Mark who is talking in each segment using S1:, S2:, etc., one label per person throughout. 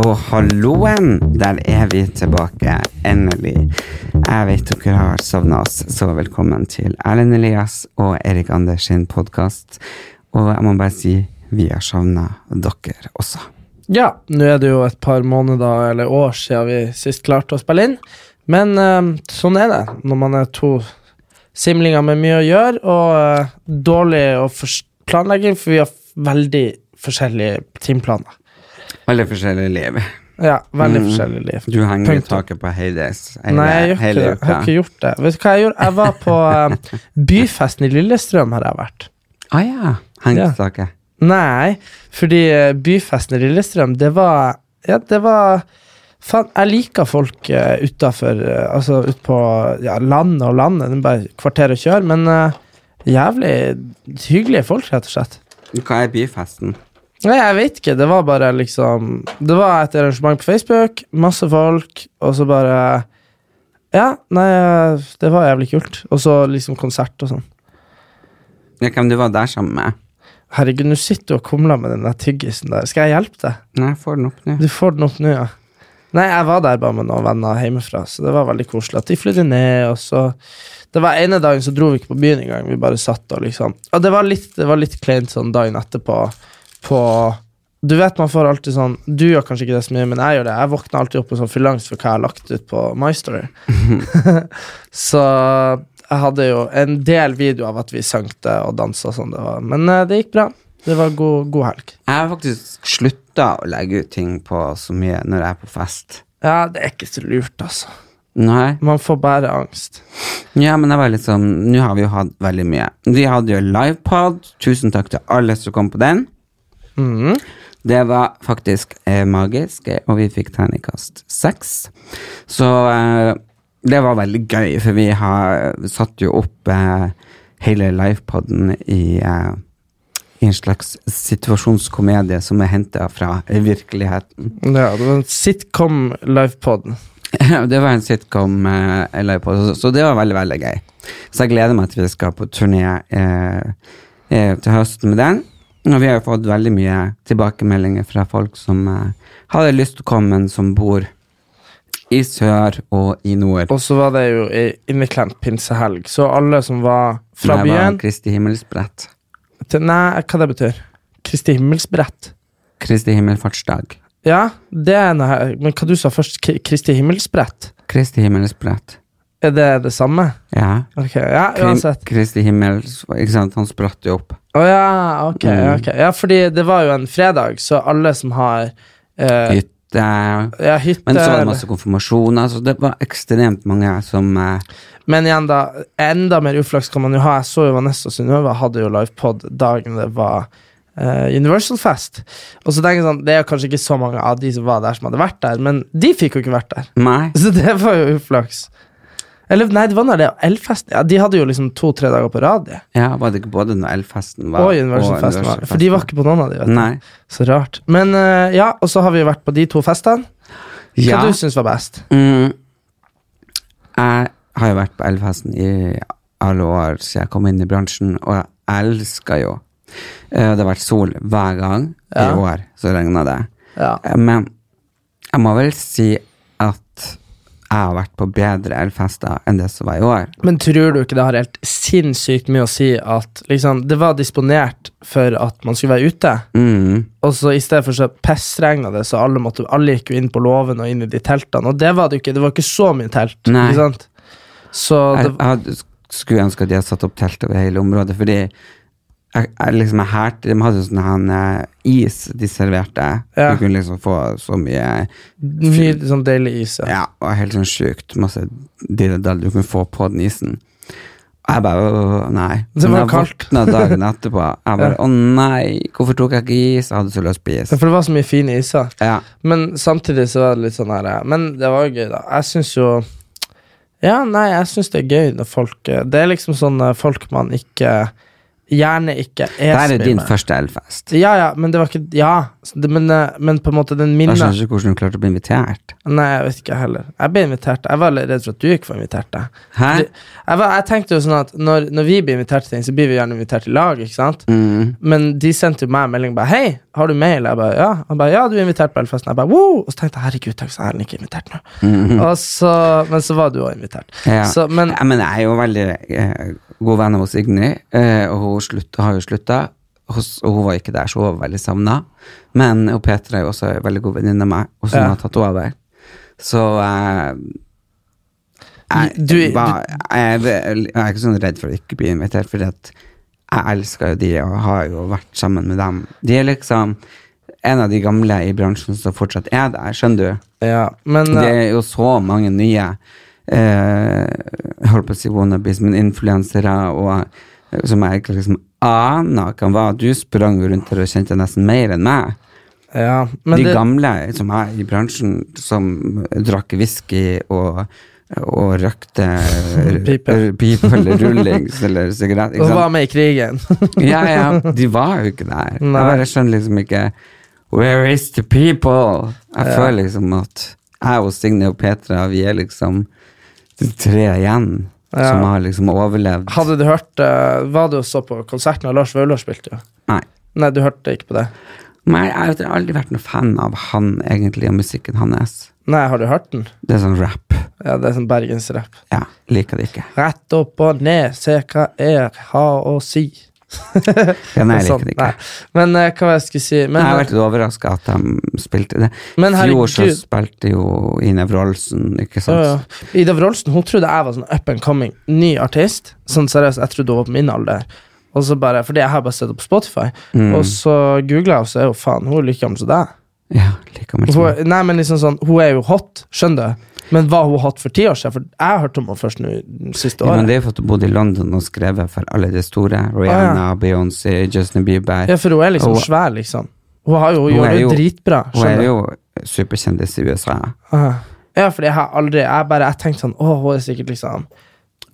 S1: Og halloen, der er vi tilbake, endelig. Jeg vet dere har savna oss, så velkommen til Erlend Elias og Erik Anders sin podkast. Og jeg må bare si, vi har savna dere også.
S2: Ja, nå er det jo et par måneder eller år siden vi sist klarte å spille inn. Men eh, sånn er det når man er to simlinger med mye å gjøre, og eh, dårlig å fors- planlegging, for vi har f- veldig forskjellige timeplaner.
S1: Alle forskjellige liv.
S2: Ja, veldig
S1: Mm.
S2: forskjellige liv.
S1: Du henger i
S2: Punktum.
S1: taket på Hades hele,
S2: Nei, jeg gjør ikke
S1: hele
S2: det. Jeg har
S1: uka.
S2: ikke gjort det. Vet du hva jeg gjorde? Jeg var på eh, byfesten i Lillestrøm, har jeg vært.
S1: Å Ah, ja. Henger
S2: Ja.
S1: i taket.
S2: Nei, fordi eh, byfesten i Lillestrøm, det var Ja, det var Faen, jeg liker folk uh, utafor Altså ut på ja, landet og landet. Det er bare kvarter å kjøre, men eh, jævlig hyggelige folk, rett og slett.
S1: Hva er byfesten?
S2: Nei, jeg vet ikke. Det var bare liksom Det var et arrangement på Facebook, masse folk, og så bare Ja, nei, eh, det var jævlig kult. Og så liksom konsert og sånn.
S1: Ja, hvem du var der sammen med?
S2: Herregud, nå sitter du og kumler med den der tyggisen der. Skal jeg hjelpe deg?
S1: Nei, jeg får den opp nå.
S2: Du får den opp nå, ja. Nei, jeg var der bare med noen venner hjemmefra, så det var veldig koselig at de flydde ned, og så Det var ene dagen så dro vi ikke på byen engang, vi bare satt og liksom Og det var litt, det var litt kleint sånn dagen etterpå på Du vet man får alltid sånn Du gjør kanskje ikke det så mye, men jeg gjør det. Jeg våkner alltid opp med sånn fyllangst for hva jeg har lagt ut på My Story. så jeg hadde jo en del video av at vi sang det og dansa sånn det var, men eh, det gikk bra. Det var god, god helg.
S1: Jeg har faktisk slutta å legge ut ting på så mye når jeg er på fest.
S2: Ja, det er ikke så lurt, altså.
S1: Nei.
S2: Man får bare angst.
S1: Ja, men det var litt sånn Nå har vi jo hatt veldig mye. Vi hadde jo livepod. Tusen takk til alle som kom på den. Det var faktisk eh, magisk, eh, og vi fikk terningkast seks. Så eh, det var veldig gøy, for vi har satt jo opp eh, hele livepoden i, eh, i en slags situasjonskomedie som er henta fra virkeligheten.
S2: Ja, det var en sitcom livepod.
S1: det var en sitcom eh, jeg la på, så, så det var veldig, veldig gøy. Så jeg gleder meg til vi skal på turné eh, eh, til høsten med den. Og vi har jo fått veldig mye tilbakemeldinger fra folk som eh, hadde lyst til å komme, men som bor i sør og i nord.
S2: Og så var det jo i inneklemt pinsehelg, så alle som var fra
S1: Der var
S2: byen
S1: Kristi himmelsbrett.
S2: til Nei, hva det betyr? Kristi himmelsbrett.
S1: Kristi himmelfartsdag.
S2: Ja, det er noe her. Men hva du sa først? K- Kristi himmelsbrett?
S1: Kristi himmelsbrett.
S2: Er det det samme?
S1: Ja.
S2: Ok, ja,
S1: Krim-
S2: uansett.
S1: Kristi himmels... Ikke sant, han spratt jo opp.
S2: Å ja, ok.
S1: Mm.
S2: ok. Ja, fordi det var jo en fredag, så alle som har eh,
S1: Hytte.
S2: ja, hytte
S1: Men så var
S2: eller-
S1: det masse konfirmasjoner, så det var ekstremt mange som eh,
S2: Men igjen, da. Enda mer uflaks kan man jo ha. Jeg så jo Vanessa og Synnøve hadde jo livepod dagen det var eh, Universal Fest. Og så tenker jeg sånn, Det er kanskje ikke så mange av de som var der, som hadde vært der, men de fikk jo ikke vært der.
S1: Nei.
S2: Så det var jo uflaks. Eller nei, det var når det var Elfest. Ja, de hadde jo liksom to-tre dager på rad. de.
S1: Ja, var det ikke både når Elfesten var
S2: Og Universal Fest. var- For de var ikke på noen av de, vet du.
S1: Nei.
S2: Så rart. Men eh, ja, og så har vi jo vært på de to festene. Hva
S1: Ja.
S2: du syns var best?
S1: Mm. Jeg har jo vært på Elfesten i alle år siden jeg kom inn i bransjen, og jeg elsker jo Eh, Det har vært sol hver gang.
S2: Ja.
S1: I år så regna det.
S2: Ja.
S1: Eh, Men jeg må vel si at jeg har vært på bedre elfester enn det som var i år.
S2: Men tror du ikke det har helt sinnssykt mye å si at liksom, det var disponert for at man skulle være ute,
S1: Mm.
S2: og så i stedet for så pissregna det, så alle, måtte, alle gikk jo inn på låven og inn i de teltene, og det var det jo ikke. Det var ikke så mye telt.
S1: Nei.
S2: Ikke sant? Så
S1: Jeg,
S2: det,
S1: jeg hadde skulle ønske at de hadde satt opp telt over hele området, fordi jeg, jeg liksom jeg hærte- De hadde jo sånn her, eh, is de serverte.
S2: Ja.
S1: Du kunne liksom få så mye
S2: Mye sånn deilig is. Ja.
S1: Ja, og helt sånn sjukt masse dilledall du kunne få på den isen. Og jeg bare «Åh, nei.
S2: Det var
S1: Men jeg
S2: kaldt.
S1: våkna dagen etterpå. Jeg bare å nei, hvorfor tok jeg ikke is? Jeg hadde så lyst på is.
S2: For det var så mye fine iser.
S1: Ja.
S2: Men samtidig så var det litt sånn her eh, Men det var jo gøy, da. Jeg syns jo Ja, nei, jeg syns det er gøy når folk eh, Det er liksom sånn eh, folk man ikke Gjerne ikke er
S1: Det her er
S2: så mye
S1: din
S2: med.
S1: første elfest.
S2: Ja, ja, men det var ikke Ja, så det, men, eh, men på en måte den
S1: Jeg
S2: minner
S1: skjønner ikke hvordan du klarte å bli invitert.
S2: Nei, jeg vet ikke heller. Jeg ble invitert. Jeg var litt redd for at du ikke var invitert. Jeg,
S1: Hæ?
S2: Du- jeg, var, jeg tenkte jo sånn at når, når vi blir invitert til ting, så blir vi gjerne invitert i lag, ikke sant?
S1: Mm.
S2: Men de sendte jo meg en melding bare 'Hei, har du mail?' Jeg bare 'Ja'. Han bare 'Ja, du er invitert på Elfesten'. Jeg bare 'Wow!' Og så tenkte jeg 'Herregud, takk, så er han ikke invitert nå'. Og så, men så var du òg invitert.
S1: Mm. Ja.
S2: Så, men
S1: ja, men jeg er jo veldig eh, god venn av hos Signy, eh, og hun slutt, har jo slutta. hos- Og hun var ikke der, så hun var veldig savna. Men hun Petra er jo også en veldig god venninne av meg, og som
S2: Ja.
S1: har tatt over. Så eh, jeg,
S2: Du-
S1: var, jeg, jeg, er ikke sånn redd for å ikke bli invitert, fordi at jeg elsker jo de og har jo vært sammen med dem. De er liksom en av de gamle i bransjen som fortsatt er der, skjønner du?
S2: Ja, men
S1: Det
S2: eh,
S1: er jo så mange nye eh, jeg holdt på å si wannabes, men influensere og eh, som jeg ikke liksom aner hvem var. Du sprang jo rundt her og kjente nesten mer enn meg.
S2: ja, men
S1: De
S2: det,
S1: gamle som er i bransjen, som drakk whisky og og røkte
S2: Pipe.
S1: r- pipe eller rullings eller sigarett. ikke
S2: Og
S1: sant?
S2: var med i krigen.
S1: Ja, ja, de var jo ikke der. Jeg
S2: Nei.
S1: bare skjønner liksom ikke Where is the people? Jeg føler liksom at jeg og Signe og Petra, vi er liksom de tre igjen
S2: Ja.
S1: som har liksom overlevd.
S2: Hadde du hørt eh, Var du og så på konserten av Lars Vaular spilte? jo?
S1: Nei.
S2: Nei, du hørte ikke på det?
S1: Men jeg, jeg har aldri vært noen fan av han egentlig, og musikken hans.
S2: Nei, har du hørt den?
S1: Det er sånn rap.
S2: Ja, det er sånn bergensrapp.
S1: Ja, liker det ikke.
S2: Rett opp og ned, se hva jeg har å si.
S1: Ja, nei,
S2: Det er
S1: jeg
S2: sånn,
S1: liker det
S2: nei.
S1: ikke.
S2: Men eh, hva var det jeg skulle si? Men,
S1: jeg har vært litt overraska at de spilte det.
S2: Men
S1: I fjor så
S2: herregud.
S1: spilte jo Ine Wroldsen, ikke
S2: eh, Ja,
S1: sant?
S2: ja. Ida Wroldsen hun trodde jeg var sånn up and coming, ny artist. Sånn seriøst, Jeg trodde hun var på min alder. Og så bare, Fordi jeg har bare sett henne på Spotify.
S1: Mm.
S2: Og så googla jeg, og så er jo faen, hun er like gammel som deg.
S1: Ja, liker meg
S2: Hun,
S1: sånn.
S2: er- nei, men liksom sånn, hun er jo hot, skjønner du. Men var hun hot for ti år siden? For jeg hørte om henne først nå det siste
S1: Ja,
S2: året.
S1: men det er jo for at du bodde i London og skrevet for alle de store. Rihanna, Beyoncé, Justin Bieber.
S2: Ah, Ja, for hun er liksom
S1: Hun-
S2: svær, liksom. Hun, har jo, hun,
S1: Hun
S2: gjør
S1: er
S2: det jo
S1: jo-
S2: dritbra.
S1: Hun er
S2: skjønner
S1: jo superkjendis i USA.
S2: Ah. Ja, fordi jeg har aldri Jeg bare jeg tenkte sånn Å, hun er sikkert liksom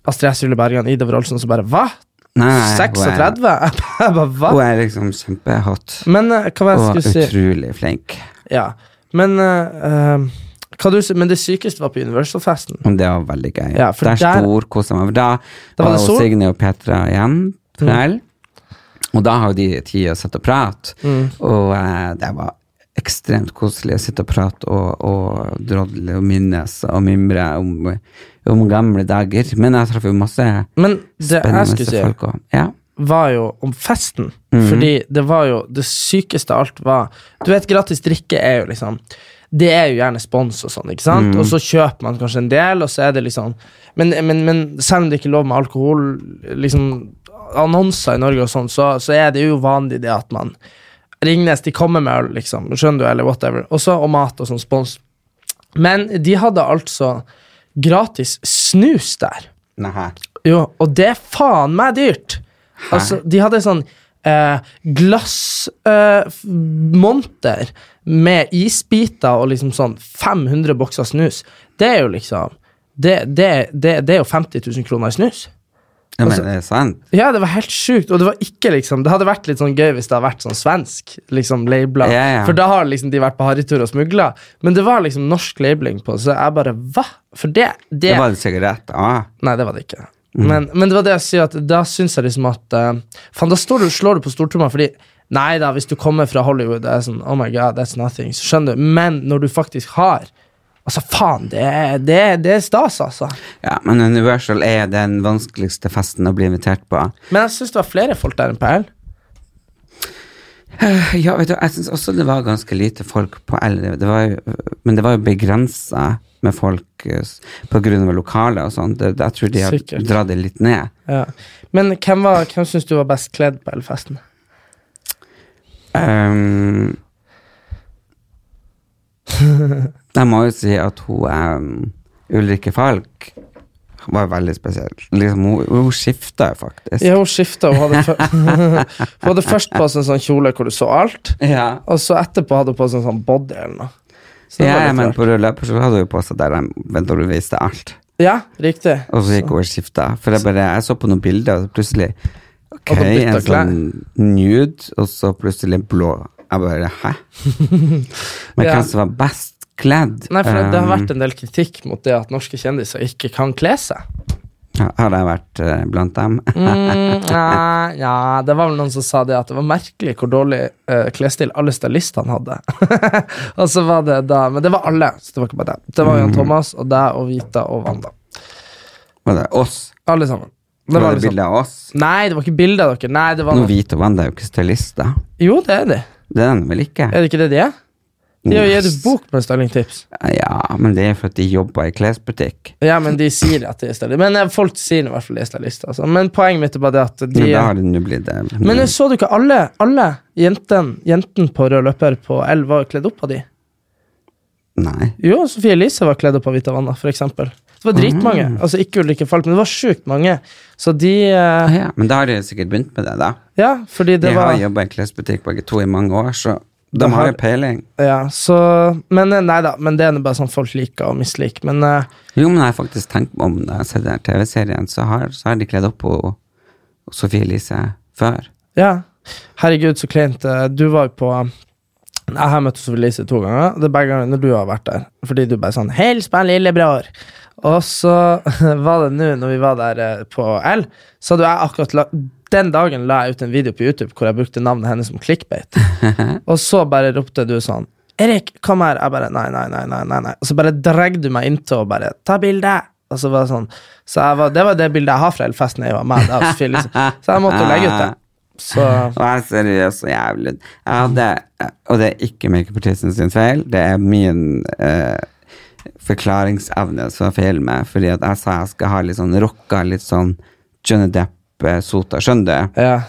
S2: Astrid S. Julie Bergan, Ida Wroldsen, og så bare Hva?
S1: Nei, nei, hun er-
S2: 36? Jeg bare, hva?
S1: Hun er liksom kjempehot.
S2: Men eh, hva var
S1: Og
S2: det jeg skulle si?
S1: utrolig flink.
S2: Ja. Men, eh, eh, hva du, si- men det sykeste var på Universal-festen.
S1: Men det var veldig gøy.
S2: Ja, for
S1: der
S2: der-
S1: storkosa meg. for Da,
S2: Da
S1: da
S2: var
S1: var
S2: det sol.
S1: jo
S2: Mm.
S1: Signe og Petra igjen. Pernell. Og da har jo de tid å sitte og prate.
S2: Mm.
S1: Og eh, det var ekstremt koselig å sitte og prate og, og drodle og minnes og mimre om, om gamle dager. Men jeg traff jo masse
S2: Men det jeg
S1: spennende
S2: skulle si,
S1: folk òg. Ja.
S2: var jo om festen. Fordi det var jo Det sykeste av alt var Du vet, gratis drikke er jo liksom Det er jo gjerne spons og sånn, ikke sant? Og så kjøper man kanskje en del, og så er det liksom Men, men, men selv om det ikke er lov med alkohol, liksom annonser i Norge og sånn, så, så er det jo vanlig det at man Ringnes, de kommer med øl, liksom. Skjønner du, eller whatever. Og så og mat og sånn spons. Men de hadde altså gratis snus der.
S1: Nei.
S2: Jo, og det er faen meg dyrt. Altså, de hadde sånn eh, glassmonter med isbiter og liksom sånn 500 bokser snus. Det er jo liksom Det, det, det, det er jo 50 000 kroner i snus.
S1: Ja,
S2: Altså,
S1: men det er sant.
S2: Ja, det var helt sjukt. Og det var ikke liksom Det hadde vært litt sånn gøy hvis det hadde vært sånn svensk liksom labela.
S1: Ja, ja.
S2: For da har liksom de vært på harrytur og smugla. Men det var liksom norsk labeling på, så jeg bare Hva? For det, det,
S1: Det var en sigarett. Ah.
S2: Nei, det var det ikke.
S1: Mm.
S2: Men, men det var det jeg sier, at da syns jeg liksom at eh, Faen, da står du, slår du på stortromma, fordi Nei da, hvis du kommer fra Hollywood, det er sånn Oh my god, that's nothing. Så skjønner du. Men når du faktisk har Altså, faen, det er, det er, det er stas, altså.
S1: Ja, men Universal er den vanskeligste festen å bli invitert på.
S2: Men jeg syns det var flere folk der enn på L.
S1: Eh, Ja, vet du, jeg syns også det var ganske lite folk på LD. Det var, jo- men det var jo begrensa med folk eh, s- på grunn av lokalet og sånn. Det- det- Jeg tror de har
S2: Sikkert.
S1: dratt det litt ned.
S2: Ja. Men hvem, var- hvem syns du var best kledd på Elfesten?
S1: Ehm, jeg må jo si at hun ehm, Ulrikke Falk var veldig spesiell. Liksom, hun hun skifta jo faktisk.
S2: Ja, hun skifta. Hun, hadde fø- hun hadde først på seg en sånn kjole hvor du så alt,
S1: Ja.
S2: og så etterpå hadde hun på seg en sånn body eller noe. Så det var
S1: Ja,
S2: litt
S1: ja, men
S2: rart.
S1: på rulleløper så hadde hun jo på seg der de- vent til du viste alt.
S2: ja, riktig.
S1: Og så gikk hun og skifta. For jeg bare, jeg så på noen bilder, og så plutselig Ok,
S2: Og så bytta
S1: en
S2: klær.
S1: sånn nude, og så plutselig blå. Jeg bare hæ? Men
S2: Ja.
S1: hvem som var best kledd?
S2: Nei, for det, det har
S1: Um,
S2: vært en del kritikk mot det at norske kjendiser ikke kan kle seg.
S1: ja, Har jeg vært eh, blant dem?
S2: Mm, nei, ja, det var vel noen som sa det at det var merkelig hvor dårlig eh, klesstil alle stylistene hadde. og så var det da, Men det var alle, så det var ikke bare det. Det var Jan
S1: Mm.
S2: Thomas og deg og Vita og Wanda.
S1: Var det oss?
S2: Alle sammen. Det
S1: Var
S2: var
S1: det
S2: liksom.
S1: bilde av oss?
S2: Nei, det var ikke bilde av dere. Nei, det var
S1: Nå
S2: noe.
S1: Hvit og Vann er jo ikke stylister.
S2: Jo, det er de.
S1: Det er de vel ikke?
S2: Er det ikke det de er? De har jo gitt ut
S1: Yes.
S2: bok med stylingtips.
S1: Ja, men det er for at de jobber i klesbutikk.
S2: Ja, men de sier at de er stylister. Men eh, folk sier i hvert fall de er stylister. Altså. Men poenget mitt er bare det at de
S1: Men da har det nå blitt eh, det.
S2: Men jeg så du ikke alle, alle jentene jenten på rød løper på L var kledd opp av de?
S1: Nei.
S2: Jo, Sofie Elise var kledd opp av Vita Vanna, for eksempel. Det var dritmange.
S1: Mm.
S2: Altså, ikke Ulrikke Falk, men det var sjukt mange. Så de
S1: Ah,
S2: eh,
S1: ja. Men da har de sikkert begynt med det, da.
S2: Ja, fordi det
S1: de
S2: var
S1: har jobba i klesbutikk begge to i mange år, så de,
S2: De
S1: har
S2: har-
S1: jo peiling.
S2: Ja, så Men eh, nei da, men det er nå bare sånn folk liker og misliker. Men eh,
S1: Jo, men jeg har faktisk tenkt meg om når jeg har sett den TV-serien, så har, så har de kledd opp på Sofie Elise før.
S2: ja. Herregud, så kleint. eh, Du var jo på eh, Jeg har møtt Sofie Elise to ganger. Det er begge ganger når du har vært der. Fordi du bare sånn 'Hils på en lillebror'. Og så var det nå, når vi var der eh, på L, så hadde jeg akkurat la Den dagen la jeg ut en video på YouTube hvor jeg brukte navnet hennes som clickbait. Og så bare ropte du sånn Erik, kom her. Jeg bare nei, nei, nei. nei, nei, nei. Og så bare dreg du meg inntil og bare ta bilde. Og så var det sånn. Så jeg var, det var det bildet jeg har fra Elfesten jeg var med. Det var Sofie Elise. så jeg måtte legge ut det. Så
S1: Og jeg er seriøst så jævlig jeg hadde, Og det er ikke makeupartisten sin feil, det er min eh, forklaringsevne som har feil med, fordi at jeg sa jeg skal ha litt sånn rocka, litt sånn Johnny Depp-sota, skjønner du?
S2: ja.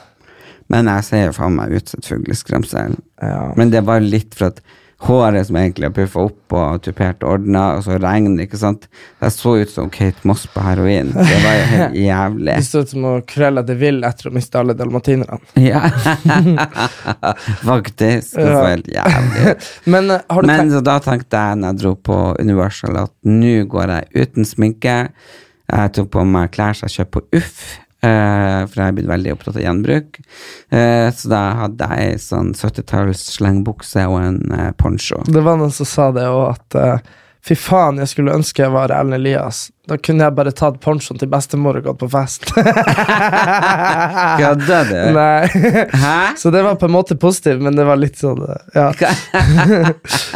S1: Men jeg ser jo faen meg ut som et fugleskremsel.
S2: Ja.
S1: Men det var litt for at håret som egentlig har puffa opp og tupert og ordna, og så regn, ikke sant. Jeg så ut som Kate Moss på heroin. Det var jo helt jævlig.
S2: Det stod ut som å krølle det vill etter å miste alle dalmatinerne.
S1: Ja. Faktisk. Det var helt jævlig.
S2: Men eh, har du
S1: Men
S2: tenkt
S1: så da tenkte jeg når jeg dro på Universal at nå går jeg uten sminke. Jeg tok på meg klær som jeg kjøpte på Uff, eh, for jeg er blitt veldig opptatt av gjenbruk. Eh, så da hadde jeg ei sånn 70-talls slengbukse og en eh, poncho.
S2: Det var noen som sa det òg, at eh, fy faen, jeg skulle ønske jeg var Ellen Elias. Da kunne jeg bare tatt ponchoen til bestemor og gått på fest.
S1: Eh.
S2: Ah.
S1: Kødda du?
S2: Nei.
S1: Hæ?
S2: Så det var på en måte positivt, men det var litt sånn eh, Ja.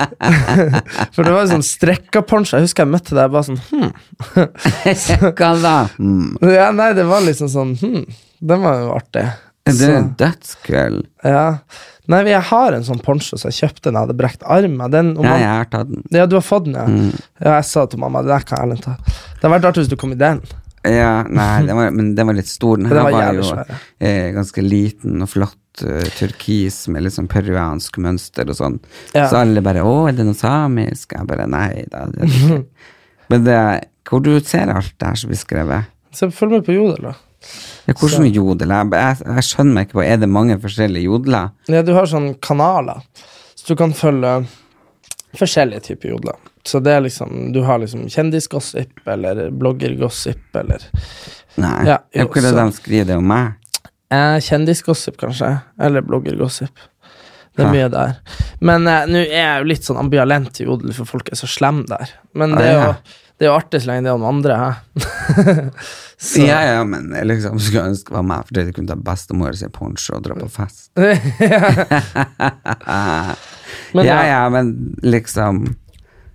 S2: For det var jo sånn strekka poncho. Jeg husker jeg møtte deg, jeg bare sånn hm.
S1: Hva da? Mm.
S2: Ja, nei, det var liksom sånn hm. Den var jo artig.
S1: Det er
S2: Så,
S1: en dødskveld.
S2: ja. Nei, jeg har en sånn poncho som jeg kjøpte da jeg hadde brekt armen. Den, om
S1: Ja, Mm.
S2: man-
S1: jeg har tatt den.
S2: Ja, du har fått den, ja. ja jeg sa til mamma det der kan Erlend ta. Det hadde vært artig hvis du kom i den.
S1: Ja, nei, den var, men den var litt stor. Den
S2: Den
S1: her
S2: var
S1: var,
S2: jævlig
S1: jo
S2: svær, ja.
S1: eh, ganske liten og flott. eh, turkis med litt sånn peruansk mønster og sånn.
S2: Ja.
S1: Så alle bare 'Å, er det noe samisk?' Jeg bare Nei da. Det er det ikke. men det, hvor du ser alt det her som blir skrevet?
S2: Så følg med på Jodel, da.
S1: Ja, hvordan jodel? Jeg, jeg, jeg skjønner meg ikke på Er det mange forskjellige jodler?
S2: Ja, du har sånne kanaler, så du kan følge forskjellige typer jodler. Så det er liksom, du har liksom kjendisgossip eller bloggergossip eller
S1: Nei.
S2: Ja, jo,
S1: Hvordan
S2: så-
S1: de skriver det om meg?
S2: eh, Kjendisgossip, kanskje. Eller bloggergossip. Det er
S1: Ja.
S2: mye der. Men eh, nå er jeg jo litt sånn ambivalent til jodel, for folk er så slemme der. Men det er jo,
S1: Ah,
S2: det er jo artig så lenge det er noen andre, hæ? Så-
S1: Ja, ja, men jeg liksom skulle ønske det var meg, fordi det kunne ta bestemor sin poncho og dra på fest.
S2: Men,
S1: ja,
S2: ja.
S1: ja, men liksom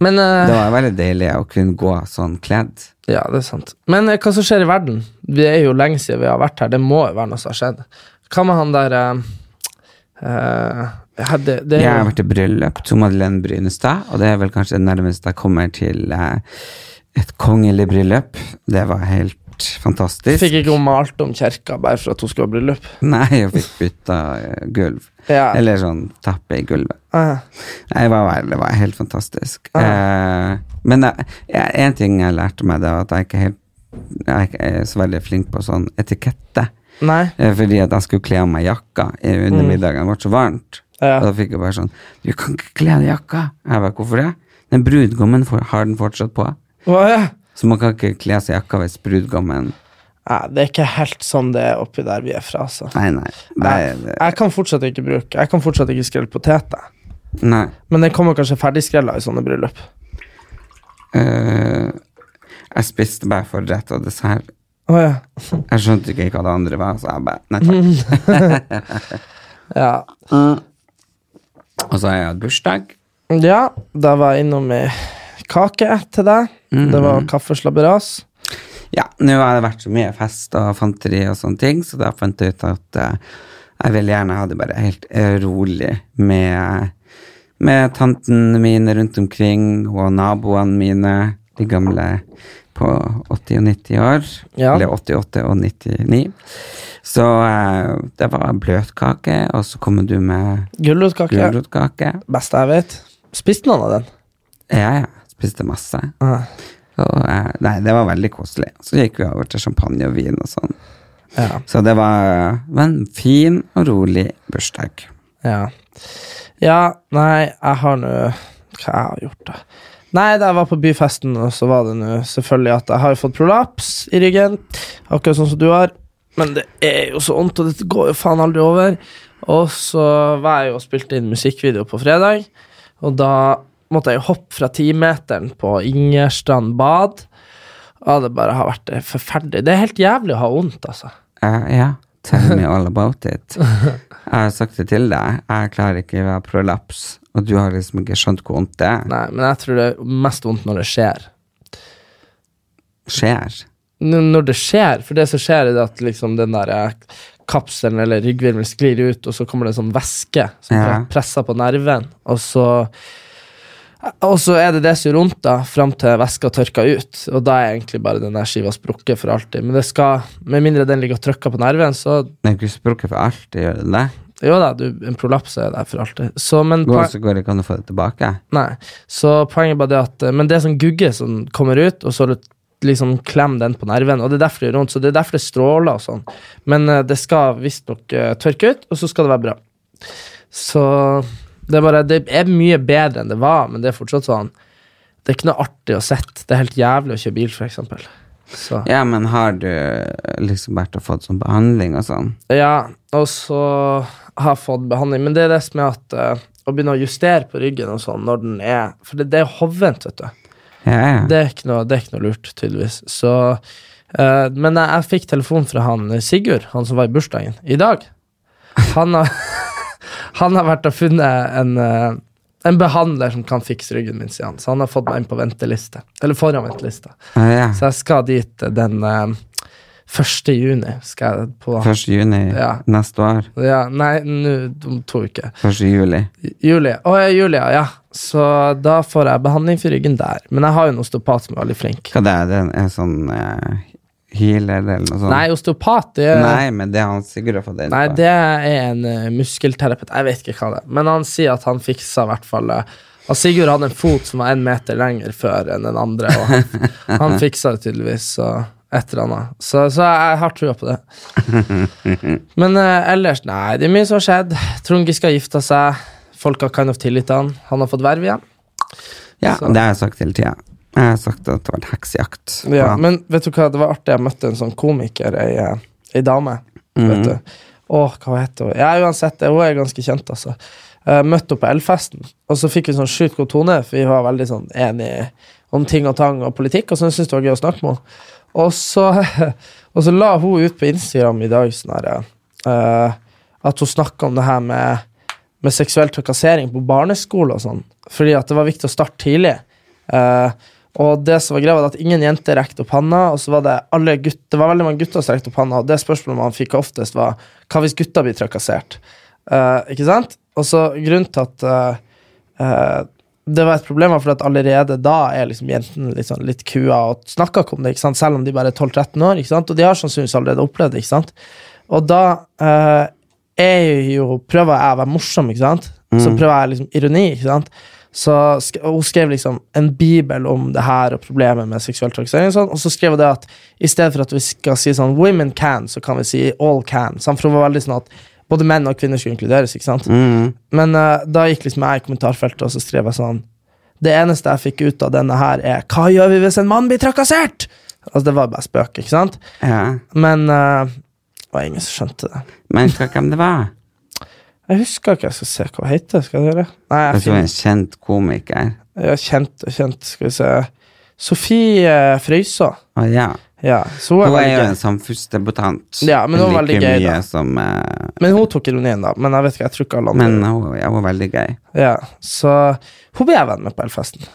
S2: Men eh,
S1: Det var veldig deilig å kunne gå sånn kledd.
S2: Ja, det er sant. Men eh, hva som skjer i verden? Vi er jo lenge siden vi har vært her. Det må jo være noe som har skjedd. Hva med han der eh, Eh, ja, det, det,
S1: Jeg har vært i bryllup til Madeleine Brynestad, og det er vel kanskje det nærmeste jeg kommer til eh, et kongelig bryllup. Det var helt fantastisk.
S2: Fikk ikke hun malt om kjerka bare for at hun skulle ha bryllup?
S1: Nei, jeg fikk bytta eh, gulv.
S2: Ja.
S1: Eller sånn tappe i gulvet.
S2: Ah,
S1: Nei, det var, det var helt fantastisk. Eh, men jeg- jeg- en ting jeg lærte meg, det var at jeg ikke helt jeg er ikke- jeg er så veldig flink på sånn etikette.
S2: nei.
S1: Eh, Fordi at jeg skulle kle av meg jakka i- under middagen. Det ble så varmt.
S2: Mm. Ja.
S1: Og da fikk jeg bare sånn Du kan ikke kle av deg jakka! Jeg bare, hvorfor det? Den brudgommen får- har den fortsatt på.
S2: Hva er det?
S1: Så man kan ikke kle av seg jakka hvis brudgommen
S2: Nei, det er ikke helt sånn det er oppi der vi er fra, altså.
S1: Nei, nei.
S2: Nei,
S1: Nei. det-
S2: jeg kan fortsatt ikke bruke Jeg kan fortsatt ikke skrelle poteter.
S1: nei.
S2: Men den kommer kanskje ferdigskrella i sånne bryllup.
S1: Eh, jeg spiste bare forrett og dessert.
S2: Å ja.
S1: Jeg skjønte ikke hva det andre var, så jeg bare Nei takk.
S2: ja. Mm.
S1: Og så har jeg hatt bursdag.
S2: Ja, da var jeg innom med kake til deg. Det var kaffeslabberas.
S1: Ja, nå har det vært så mye fest og fanteri og sånne ting, så da fant jeg ut at eh, jeg ville gjerne ha det bare helt eh, rolig med, med tantene mine rundt omkring og naboene mine, de gamle på 80 og 90 år,
S2: Ja.
S1: eller 88 og 99. Så eh, det var bløtkake, og så kommer du med
S2: Gulrotkake.
S1: gulrotkake.
S2: Beste jeg vet. Spiste noen av den?
S1: Ja, ja, spiste masse.
S2: Ah,
S1: Og, eh, nei, det var veldig koselig. Så gikk vi over til champagne og vin og sånn.
S2: Ja.
S1: Så det var, var en fin og rolig bursdag.
S2: ja. ja, nei, jeg har nå Hva jeg har gjort, da? Nei, da jeg var på byfesten, og så var det nå selvfølgelig at jeg har jo fått prolaps i ryggen. Akkurat sånn som du har. Men det er jo så vondt, og det går jo faen aldri over. Og så var jeg jo og spilte inn musikkvideo på fredag, og da måtte jeg jo hoppe fra timeteren på Ingerstrand bad. Ja, det bare har vært eh, forferdelig. Det er helt jævlig å ha vondt, altså.
S1: Eh, ja, tell me all about it. Jeg har sagt det til deg, jeg klarer ikke å ha prolaps, og du har liksom ikke skjønt hvor vondt det er.
S2: Nei, men jeg tror det er mest vondt når det skjer.
S1: skjer.
S2: N- Når det skjer, for det som skjer, er det at liksom den der eh, kapselen eller ryggvirvelen sklir ut, og så kommer det sånn væske som
S1: Ja.
S2: pre- presser på nerven, og så og så er det det som gjør vondt, da, fram til væska tørker ut. Og da er egentlig bare den der skiva sprukket for alltid. Men det skal, med mindre den ligger og trykker på nerven, så
S1: Det er ikke sprukket for alltid, gjør det det?
S2: Jo da, du, en prolaps er der for alltid. Så, men
S1: Går,
S2: poen-
S1: så går det ikke an å få det tilbake.
S2: Nei, så poenget bare det at eh, Men det er sånn gugge som kommer ut, og så liksom klem den på nerven. Og det er derfor det gjør vondt, så det er derfor det stråler og sånn. Men eh, det skal visstnok eh, tørke ut, og så skal det være bra. Så det er bare Det er mye bedre enn det var, men det er fortsatt sånn Det er ikke noe artig å sette. Det er helt jævlig å kjøre bil, for eksempel. Så.
S1: Ja, men har du liksom vært og fått sånn behandling og sånn?
S2: Ja, og så har jeg fått behandling. Men det er det som er at eh, å begynne å justere på ryggen og sånn når den er For det, det er hovent, vet du.
S1: Ja, ja.
S2: Det er ikke noe, det er ikke noe lurt, tydeligvis. Så, eh, men jeg, jeg fikk telefon fra han eh, Sigurd, han som var i bursdagen, i dag. Han har, han har vært og funnet en, eh, en behandler som kan fikse ryggen min, sier han. Så han har fått meg inn på venteliste. Eller foran ventelista.
S1: Ja, ja.
S2: Så jeg skal dit eh, den eh, 1. juni. Skal jeg på
S1: 1. juni
S2: Ja.
S1: neste år.
S2: ja, Nei, nå om to uker.
S1: 1. juli.
S2: Julie. Å, ja, Julia, ja. Så da får jeg behandling for ryggen der. Men jeg har jo en osteopat som er veldig flink.
S1: Hva det er det? En sånn eh, healer eller noe sånt?
S2: Nei, osteopat det, nei,
S1: Nei, men det har han sikkert fått inn på.
S2: det er en eh, muskelterapeut. Jeg vet ikke hva det er. Men han sier at han fiksa i hvert fall eh, at Sigurd hadde en fot som var en meter lenger før enn den andre. Og han, han fiksa det tydeligvis så et eller annet. Så, så jeg har trua på det. Men eh, ellers, nei, det er mye som har skjedd. Trond Giske har gifta seg. Folk har kind of tillit til han. Han har fått verv igjen.
S1: Ja,
S2: Så-
S1: det har jeg sagt hele tida. Jeg har sagt at det var en heksejakt. på
S2: Ja,
S1: han.
S2: men vet du hva, det var artig. Jeg møtte en sånn komiker, ei, eh, ei dame. Vet du. Åh, hva heter hun? Ja, uansett, hun er ganske kjent, altså. Eh, Møtte henne på Elfesten, og så fikk vi sånn sjukt god tone, for vi var veldig sånn enige om ting og tang og politikk, og så syntes jeg det var gøy å snakke med henne. Og så, og så la hun ut på Instagram i dag sånn her eh, at hun snakka om det her med, med seksuell trakassering på barneskole og sånn, fordi at det var viktig å starte tidlig. Eh, og det som var greia, var at ingen jenter rekte opp handa, og så var det alle gutter, det var veldig mange gutter som rekte opp handa, og det spørsmålet man fikk oftest, var hva hvis gutta blir trakassert? Eh, ikke sant? Og så grunnen til at eh, eh, det var et problem, var fordi at allerede da er liksom jentene litt, sånn, litt kua og snakker ikke om det, ikke sant? selv om de bare er 12-13 år. Ikke sant? Og de har sannsynligvis allerede opplevd det. Ikke sant? Og da eh, er jo, prøver jeg å være morsom, ikke sant? så prøver jeg liksom ironi. ikke sant? Så sk og hun skrev liksom en bibel om det her og problemet med seksuell trakassering. Og sånn, og så skrev hun det at i stedet for at vi skal si sånn 'women can', så kan vi si 'all can'. sant? For hun var veldig sånn at både menn og kvinner skulle inkluderes. ikke sant?
S1: Mm.
S2: Men eh, da gikk liksom jeg i kommentarfeltet og så skrev jeg sånn Det eneste jeg fikk ut av denne her, er 'Hva gjør vi hvis en mann blir trakassert?' Altså, det var bare spøk, ikke sant?
S1: Ja.
S2: Men eh, det var ingen som skjønte det.
S1: Men husker ikke hvem det var.
S2: Jeg husker ikke. Jeg skal se hva hun heter. Skal dere? Nei,
S1: Jeg tror
S2: jeg
S1: det
S2: finner-
S1: var en kjent komiker.
S2: Ja, kjent og kjent, skal vi se. Sofie Frøysaa.
S1: Å, ja.
S2: Ja, så hun
S1: Hun
S2: er
S1: er jo en sånn
S2: veldig gøy.
S1: samfunnsdebutant.
S2: Ja, men hun var veldig
S1: like
S2: gøy, da.
S1: mye som eh,
S2: Men hun tok ironien, da. Men jeg vet ikke, jeg tror ikke alle andre
S1: Men hun, ja, hun var veldig gøy.
S2: ja, Så hun ble jeg venn med på Elfesten.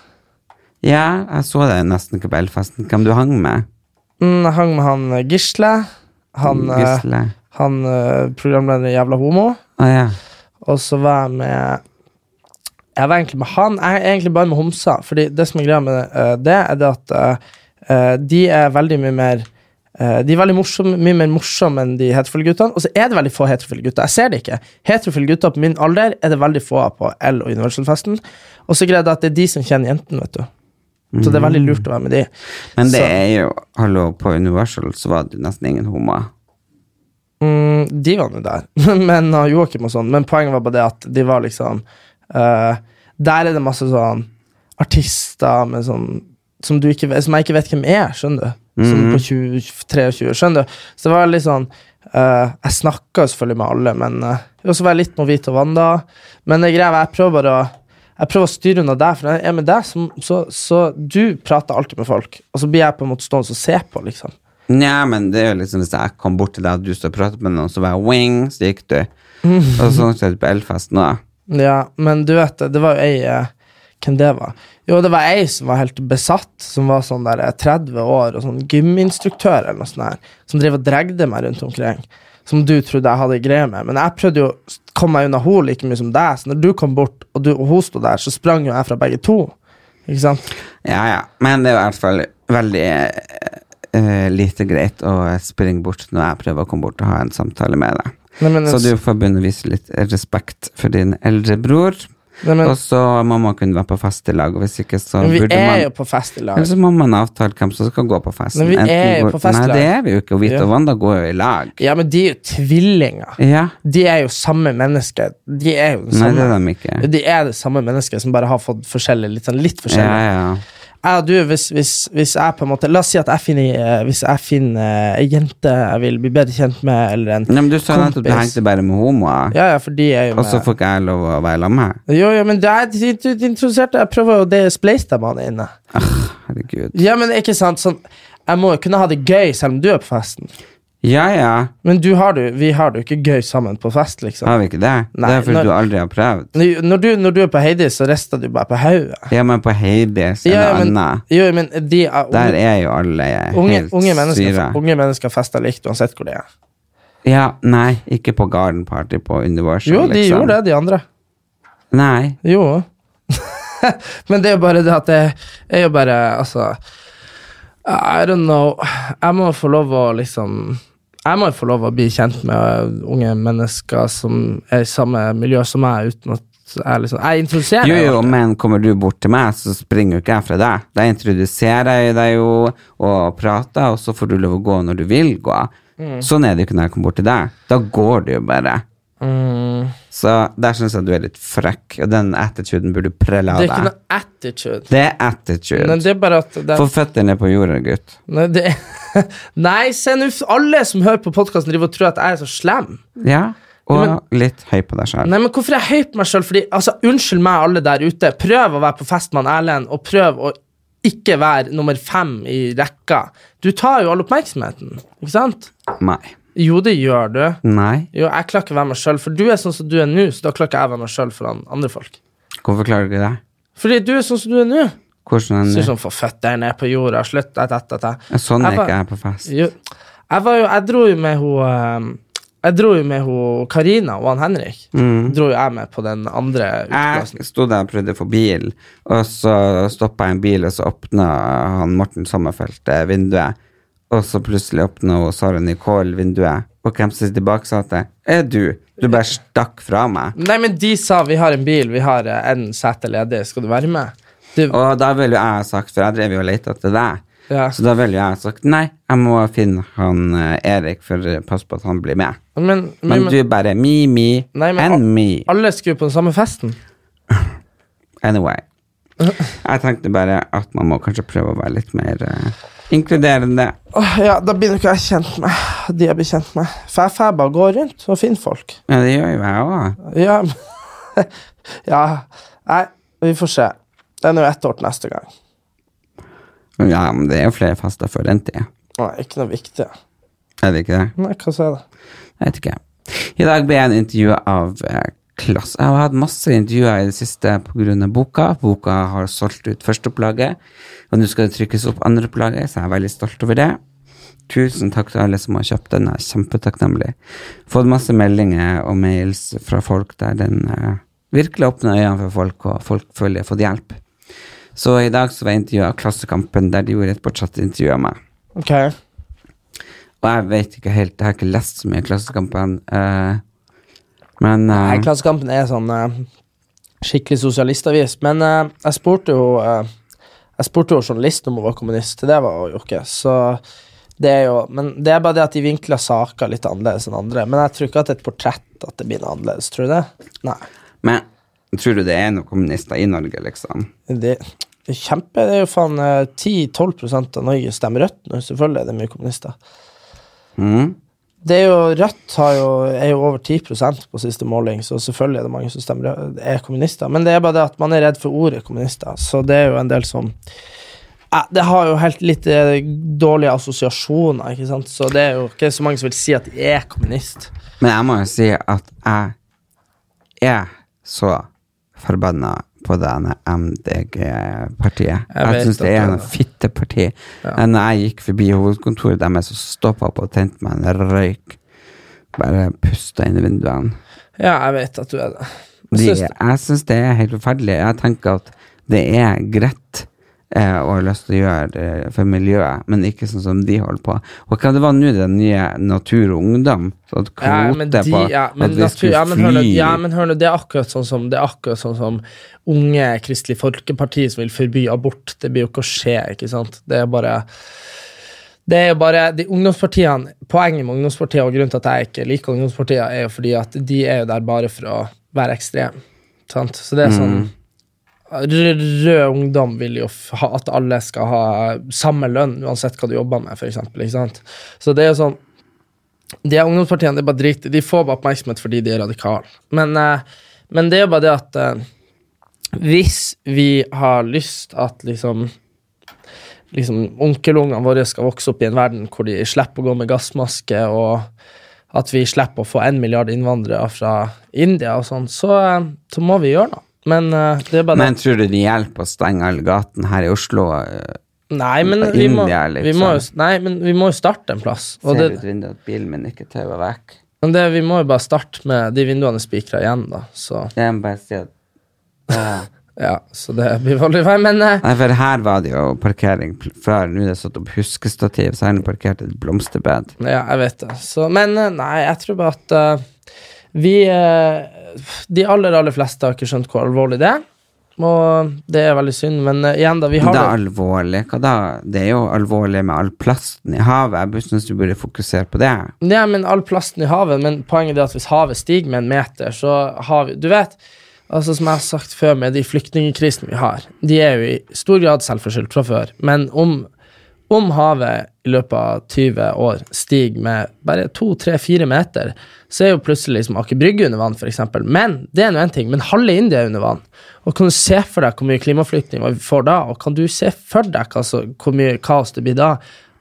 S1: Ja, jeg så deg nesten ikke på Elfesten. Hvem du hang med?
S2: Mm, jeg hang med han eh, Gisle. Han, eh,
S1: Gisle.
S2: han eh, programlederen i Jævla homo.
S1: Å ja.
S2: Og så var jeg med Jeg var egentlig med han. Jeg er egentlig bare med homser. Fordi det som er greia med eh, det, er det at eh, eh, de er veldig mye mer eh, de er veldig morsomme, mye mer morsomme enn de heterofile guttene. Og så er det veldig få heterofile gutter. Jeg ser det ikke. Heterofile gutter på min alder er det veldig få av på L- og Universalfesten. Og så greier det at det er de som kjenner jentene, vet du. Så det er veldig lurt å være med de.
S1: Men det
S2: Så-
S1: er jo Hallo, på Universal så var det jo nesten ingen homoer.
S2: Mm, de var nå der, men uh, Joakim og sånn. Men poenget var bare det at de var liksom eh, Der er det masse sånn artister med sånn som, du ikke, vet- som jeg ikke vet hvem er, skjønner du. Som på 20, 23, skjønner du. Så det var litt sånn eh, Jeg snakka selvfølgelig med alle, men eh, Og så var jeg litt Movito og Wanda. Men det greia var, jeg prøver bare å jeg prøver å styre unna deg, for når jeg er med deg, så, så, så du prater alltid med folk. Og så blir jeg på en måte stående og se på, liksom.
S1: Nja, men det er jo liksom hvis jeg kom bort til deg og du står og prater med noen, så var jeg wing, så gikk du. Og sånn skjedde det på Elfesten òg.
S2: Ja, men du vet det, det var jo ei eh, Hvem det var? Jo, det var ei som var helt besatt, som var sånn der eh, 30 år og sånn gyminstruktør eller noe sånt der, som drev og dregde meg rundt omkring. Som du trodde jeg hadde greier med. Men jeg prøvde jo å s- komme meg unna henne like mye som deg, så når du kom bort og, du, og hun sto der, så sprang jo jeg fra begge to. Ikke sant?
S1: Ja, ja. Men det er i hvert fall veldig eh, eh, lite greit å springe bort når jeg prøver å komme bort og ha en samtale med deg.
S2: Nei, men,
S1: Så du får begynne å vise litt respekt for din eldre bror.
S2: nei, men,
S1: og så må man kunne være på fest i lag, og hvis ikke så
S2: men vi
S1: burde
S2: er
S1: man
S2: jo på fest i
S1: Eller
S2: lag.
S1: så må man avtale hvem som skal gå på festen.
S2: Men vi
S1: Enten
S2: er jo
S1: går-
S2: på fest i
S1: Nei,
S2: lag.
S1: det er vi jo ikke, og Vito
S2: Ja.
S1: og Wanda går jo i lag.
S2: Ja, men de er jo tvillinger.
S1: Ja.
S2: De er jo samme menneske. De er jo det
S1: Nei,
S2: samme.
S1: det er de ikke.
S2: De er det samme mennesket som bare har fått forskjellig, litt, sånn, litt
S1: Ja,
S2: forskjellig.
S1: ja.
S2: Jeg og du, hvis, hvis, hvis jeg på en måte La oss si at jeg finner, eh, hvis jeg finner ei jente jeg vil bli bedre kjent med, eller en
S1: Nei, men du sa nettopp du
S2: Kompis.
S1: hengte bare med homoer,
S2: Ja, ja, for de er jo
S1: og så
S2: med.
S1: får ikke jeg lov å være sammen med
S2: Jo, jo, men det er de- de- de introduserte Jeg prøver jo det spleis dem han er inne.
S1: Herregud.
S2: Ja, men ikke sant, sånn Jeg må jo kunne ha det gøy selv om du er på festen.
S1: Ja, ja.
S2: Men du har det jo- vi har det jo ikke gøy sammen på fest, liksom.
S1: Har vi ikke det?
S2: Nei,
S1: det er fordi
S2: når-
S1: du aldri har prøvd.
S2: Når du, når du er på Heidi, så rister du bare på hodet.
S1: Ja, men på Heidis
S2: Ja,
S1: eller
S2: ja, men,
S1: annet,
S2: jo, men de er
S1: der er jo alle
S2: Unge,
S1: helt
S2: unge, mennesker,
S1: syre.
S2: unge mennesker fester likt uansett hvor de er.
S1: Ja, nei, ikke på garden party på Universal,
S2: Jo, de
S1: liksom.
S2: gjorde det, de andre.
S1: Nei.
S2: Jo. Men det er jo bare det at det er jo bare Altså I don't know. Jeg må få lov å liksom Jeg må jo få lov å bli kjent med unge mennesker som er i samme miljø som meg, uten at jeg liksom Jeg introduserer
S1: Jo,
S2: jo.
S1: jo, men kommer du bort til meg, så springer jo ikke jeg fra deg. Da introduserer jeg deg jo og prater, og så får du lov å gå når du vil gå.
S2: Mm.
S1: Sånn er det jo ikke når jeg kommer bort til deg. Da går du jo bare.
S2: Mm.
S1: Så der syns jeg du er litt frekk, og den attituden burde du prelle av
S2: Det er ikke
S1: deg.
S2: noe attitude.
S1: Det er attitude.
S2: Men det er bare at det er
S1: Få føttene på jorda, gutt.
S2: Nei, det, nei se nå, f- alle som hører på podkasten, driver og tror at jeg er så slem.
S1: Ja, og
S2: Ja,
S1: litt høy på deg sjøl.
S2: Nei, men hvorfor er jeg høy på meg sjøl? Fordi, altså, unnskyld meg, alle der ute. Prøv å være på fest med han Erlend, og prøv å ikke være nummer fem i rekka. Du tar jo all oppmerksomheten, ikke sant?
S1: Nei.
S2: Jo, det gjør du.
S1: Nei.
S2: Jo, jeg klarer ikke å være meg sjøl, for du er sånn som du er nå, så da klarer ikke jeg å være meg sjøl foran andre folk.
S1: Hvorfor klarer du ikke det?
S2: Fordi du er sånn som du er nå.
S1: Hvordan
S2: Sier sånn, få føttene ned på jorda, slutt, et, et, et, et.
S1: Sånn
S2: Jeg
S1: er
S2: var-
S1: ikke jeg på fest.
S2: Jo, jeg, var jo, jeg dro jo med hun eh, Jeg dro jo med ho, Karina og han Henrik. Dro jo jeg med på den andre
S1: Mm.
S2: uteplassen.
S1: Jeg sto der og prøvde å få bil, og så stoppa jeg en bil, og så åpna han Morten Sommerfelt eh, vinduet. Og så plutselig åpna hun Sara Nicole vinduet, og hvem som sitter bak, sa til Er du? Du bare stakk fra meg.
S2: Nei, men de sa vi har en bil, vi har eh, en sete ledig, skal du være med? Du,
S1: Og da ville jo jeg ha sagt, for jeg drev jo og leita etter deg,
S2: Ja.
S1: så da ville jo jeg ha sagt nei, jeg må finne han eh, Erik, for eh, pass på at han blir med.
S2: men, men,
S1: Men du bare me, me,
S2: Nei, men
S1: and
S2: al-
S1: me.
S2: alle skulle på den samme festen.
S1: Anyway. Jeg tenkte bare at man må kanskje prøve å være litt mer eh, inkluderende.
S2: Åh, ja, da blir nok jeg kjent med de jeg blir kjent med. For jeg får bare gå rundt og finne folk.
S1: Ja, det gjør jo jeg òg.
S2: Ja, men- ja. Nei, vi får se. Det er nå ett år til neste gang.
S1: Ja, men det er jo flere fester før den tid.
S2: Nei, ikke noe viktig.
S1: Er det ikke det?
S2: Nei, hva sier det?
S1: Jeg vet ikke. I dag ble jeg intervjua av eh, Klass. Jeg har hatt masse intervjuer i det siste pga. boka. Boka har solgt ut førsteopplaget, og nå skal det trykkes opp andreopplaget, så jeg er veldig stolt over det. Tusen takk til alle som har kjøpt den. Jeg er kjempetakknemlig. Fått masse meldinger og mails fra folk der den eh, virkelig åpner øynene for folk, og folk føler de har fått hjelp. Så i dag så var jeg intervjua av Klassekampen, der de gjorde et portrettintervju av meg.
S2: Ok.
S1: Og jeg vet ikke helt, jeg har ikke lest så mye Klassekampen. eh, men
S2: Nei,
S1: eh,
S2: Klassekampen er sånn eh, skikkelig sosialistavis. Men eh, jeg spurte jo eh, Jeg spurte jo journalisten om hun var kommunist. Det var hun jo ikke. Så det er jo Men det er bare det at de vinkler saker litt annerledes enn andre. Men jeg tror ikke at et portrett at det blir noe annerledes. Tror du det? Nei.
S1: Men tror du det er noen kommunister i Norge, liksom?
S2: Det det er kjempe Det er jo faen eh, 10-12 av Norge stemmer Rødt nå. Selvfølgelig er det mye kommunister.
S1: Mm.
S2: Det er jo, Rødt har jo, er jo over 10 på siste måling, så selvfølgelig er det mange som stemmer, er kommunister. Men det er bare det at man er redd for ordet kommunister, så det er jo en del som Eh, Det har jo helt litt eh, dårlige assosiasjoner, ikke sant? så det er jo ikke så mange som vil si at de er kommunist.
S1: Men jeg må jo si at jeg er så forbanna på denne MDG-partiet.
S2: Jeg
S1: Jeg,
S2: vet
S1: synes syns det
S2: at
S1: er
S2: det-
S1: noe fitteparti. Ja. Når jeg gikk forbi hovedkontoret deres, så stoppa jeg opp og tente meg en røyk. Bare pusta inn i vinduene.
S2: Ja, jeg vet at du er det. Jeg
S1: De,
S2: synes-
S1: jeg syns det er helt forferdelig. Jeg tenker at det er greit eh, å ha lyst til å gjøre det for miljøet, men ikke sånn som de holder på. Og hva det var nå, den nye Natur og Ungdom? Så at kvote
S2: Ja, men de,
S1: på
S2: ja, men
S1: at vi
S2: natur,
S1: skulle
S2: ja, men hør nå,
S1: fly
S2: ja, men hør nå, det er akkurat sånn som Det er akkurat sånn som unge Kristelig Folkeparti som vil forby abort. Det blir jo ikke å skje, ikke sant? Det er bare det er jo bare, de ungdomspartiene, Poenget med ungdomspartier og grunnen til at jeg ikke liker ungdomspartier, er jo fordi at de er jo der bare for å være ekstrem. Sant? Så det er sånn
S1: Mm.
S2: Rød, rød ungdom vil jo f- ha at alle skal ha samme lønn uansett hva du jobber med, for eksempel, ikke sant? Så det er jo sånn de her ungdomspartiene det er bare drit. De får bare oppmerksomhet fordi de er radikale. Men, eh, men det er jo bare det at eh, hvis vi har lyst at liksom liksom onkelungene våre skal vokse opp i en verden hvor de slipper å gå med gassmaske, og at vi slipper å få en milliard innvandrere fra India og sånn, så, eh, så må vi gjøre noe. Men eh, det er bare
S1: Men tror du det hjelper å stenge all gaten her i Oslo? eh,
S2: det. Nei, men
S1: India,
S2: vi må, vi
S1: liksom.
S2: må jo, nei, men vi må jo starte en plass. Og
S1: Ser
S2: det,
S1: ut vinduet at bilen min ikke tauer vekk?
S2: men det, vi må jo bare starte med de vinduene spikra igjen, da. Så
S1: Jeg må bare si at Ja.
S2: Ja, så det blir vanlig vei, men eh,
S1: Nei, for her var det jo parkering pl- før. Nå er det satt opp huskestativ, så her er det parkert et blomsterbed.
S2: Ja, jeg vet det. Så, men eh, nei, jeg tror bare at eh, vi eh, De aller, aller fleste har ikke skjønt hvor alvorlig det er, og det er veldig synd, men eh, igjen, da, vi har
S1: det er
S2: det.
S1: alvorlig. Hva da? Det er jo alvorlig med all plasten i havet. Jeg bare synes du burde fokusere på det.
S2: Ja, men all plasten i havet, men poenget er at hvis havet stiger med en meter, så har vi Du vet, altså som jeg har sagt før med de flyktningkrisene vi har, de er jo i stor grad selvforskyldt fra før, men om, om havet i løpet av 20 år stiger med bare 2-3-4 meter, så er jo plutselig liksom Aker Brygge under vann, f.eks. Men det er nå en ting, men halve India er under vann. Og kan du se for deg hvor mye klimaflyktninger vi får da, og kan du se for deg hva så- hvor mye kaos det blir da?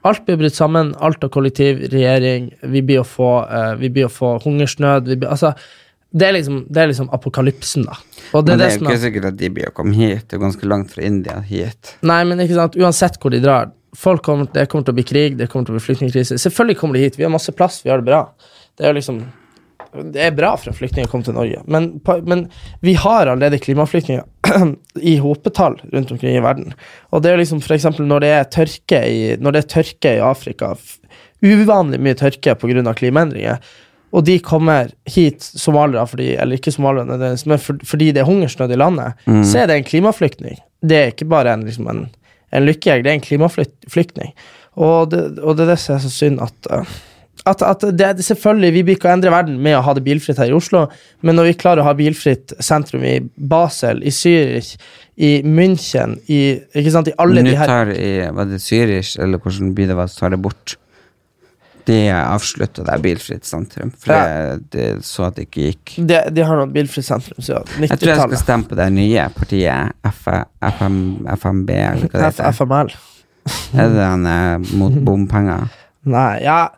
S2: Alt blir brutt sammen, alt av kollektiv, regjering, vi blir å få, eh, vi blir å få hungersnød vi blir, altså, det, er liksom, det er liksom apokalypsen, da. Og det
S1: Men det
S2: er det
S1: er jo
S2: som er
S1: ikke sikkert at de blir å komme hit. Det er jo ganske langt fra India hit.
S2: Nei, men ikke sant, uansett hvor de drar folk kommer, Det kommer til å bli krig, det kommer til å bli flyktningkrise. Selvfølgelig kommer de hit. Vi har masse plass, vi har det bra. Det er jo liksom Det er bra for flyktninger å komme til Norge, men, pa- men vi har allerede klimaflyktninger i hopetall rundt omkring i verden. Og det er jo liksom for eksempel når det er tørke i, når det er tørke i Afrika, f- uvanlig mye tørke pga. klimaendringer, og de kommer hit, somaliere, fordi, eller ikke somaliere, nødvendigvis, men for, fordi det er hungersnød i landet, så er det en klimaflyktning. Det er ikke bare en, liksom en, en lykkejeger, det er en klimaflyktning. Og det, og det er det som er så synd at eh, at, at det, er- selvfølgelig, Vi blir ikke å endre verden med å ha det bilfritt her i Oslo, men når vi klarer å ha bilfritt sentrum i Basel, i Zürich, i München i, ikke sant, i alle
S1: Nå
S2: de her
S1: tar i, var det Zürich, eller hvordan by det var, så tar det bort. Det avslutta der bilfritt sentrum, for
S2: Ja.
S1: det, det så at det ikke gikk.
S2: de, de har noe bilfritt sentrum siden
S1: Jeg tror jeg skal
S2: 90-tallet.
S1: stemme på det nye partiet, F FM, FMB, eller hva det
S2: F-
S1: heter.
S2: FML.
S1: Er det den eh, mot bompenger?
S2: Nei, ja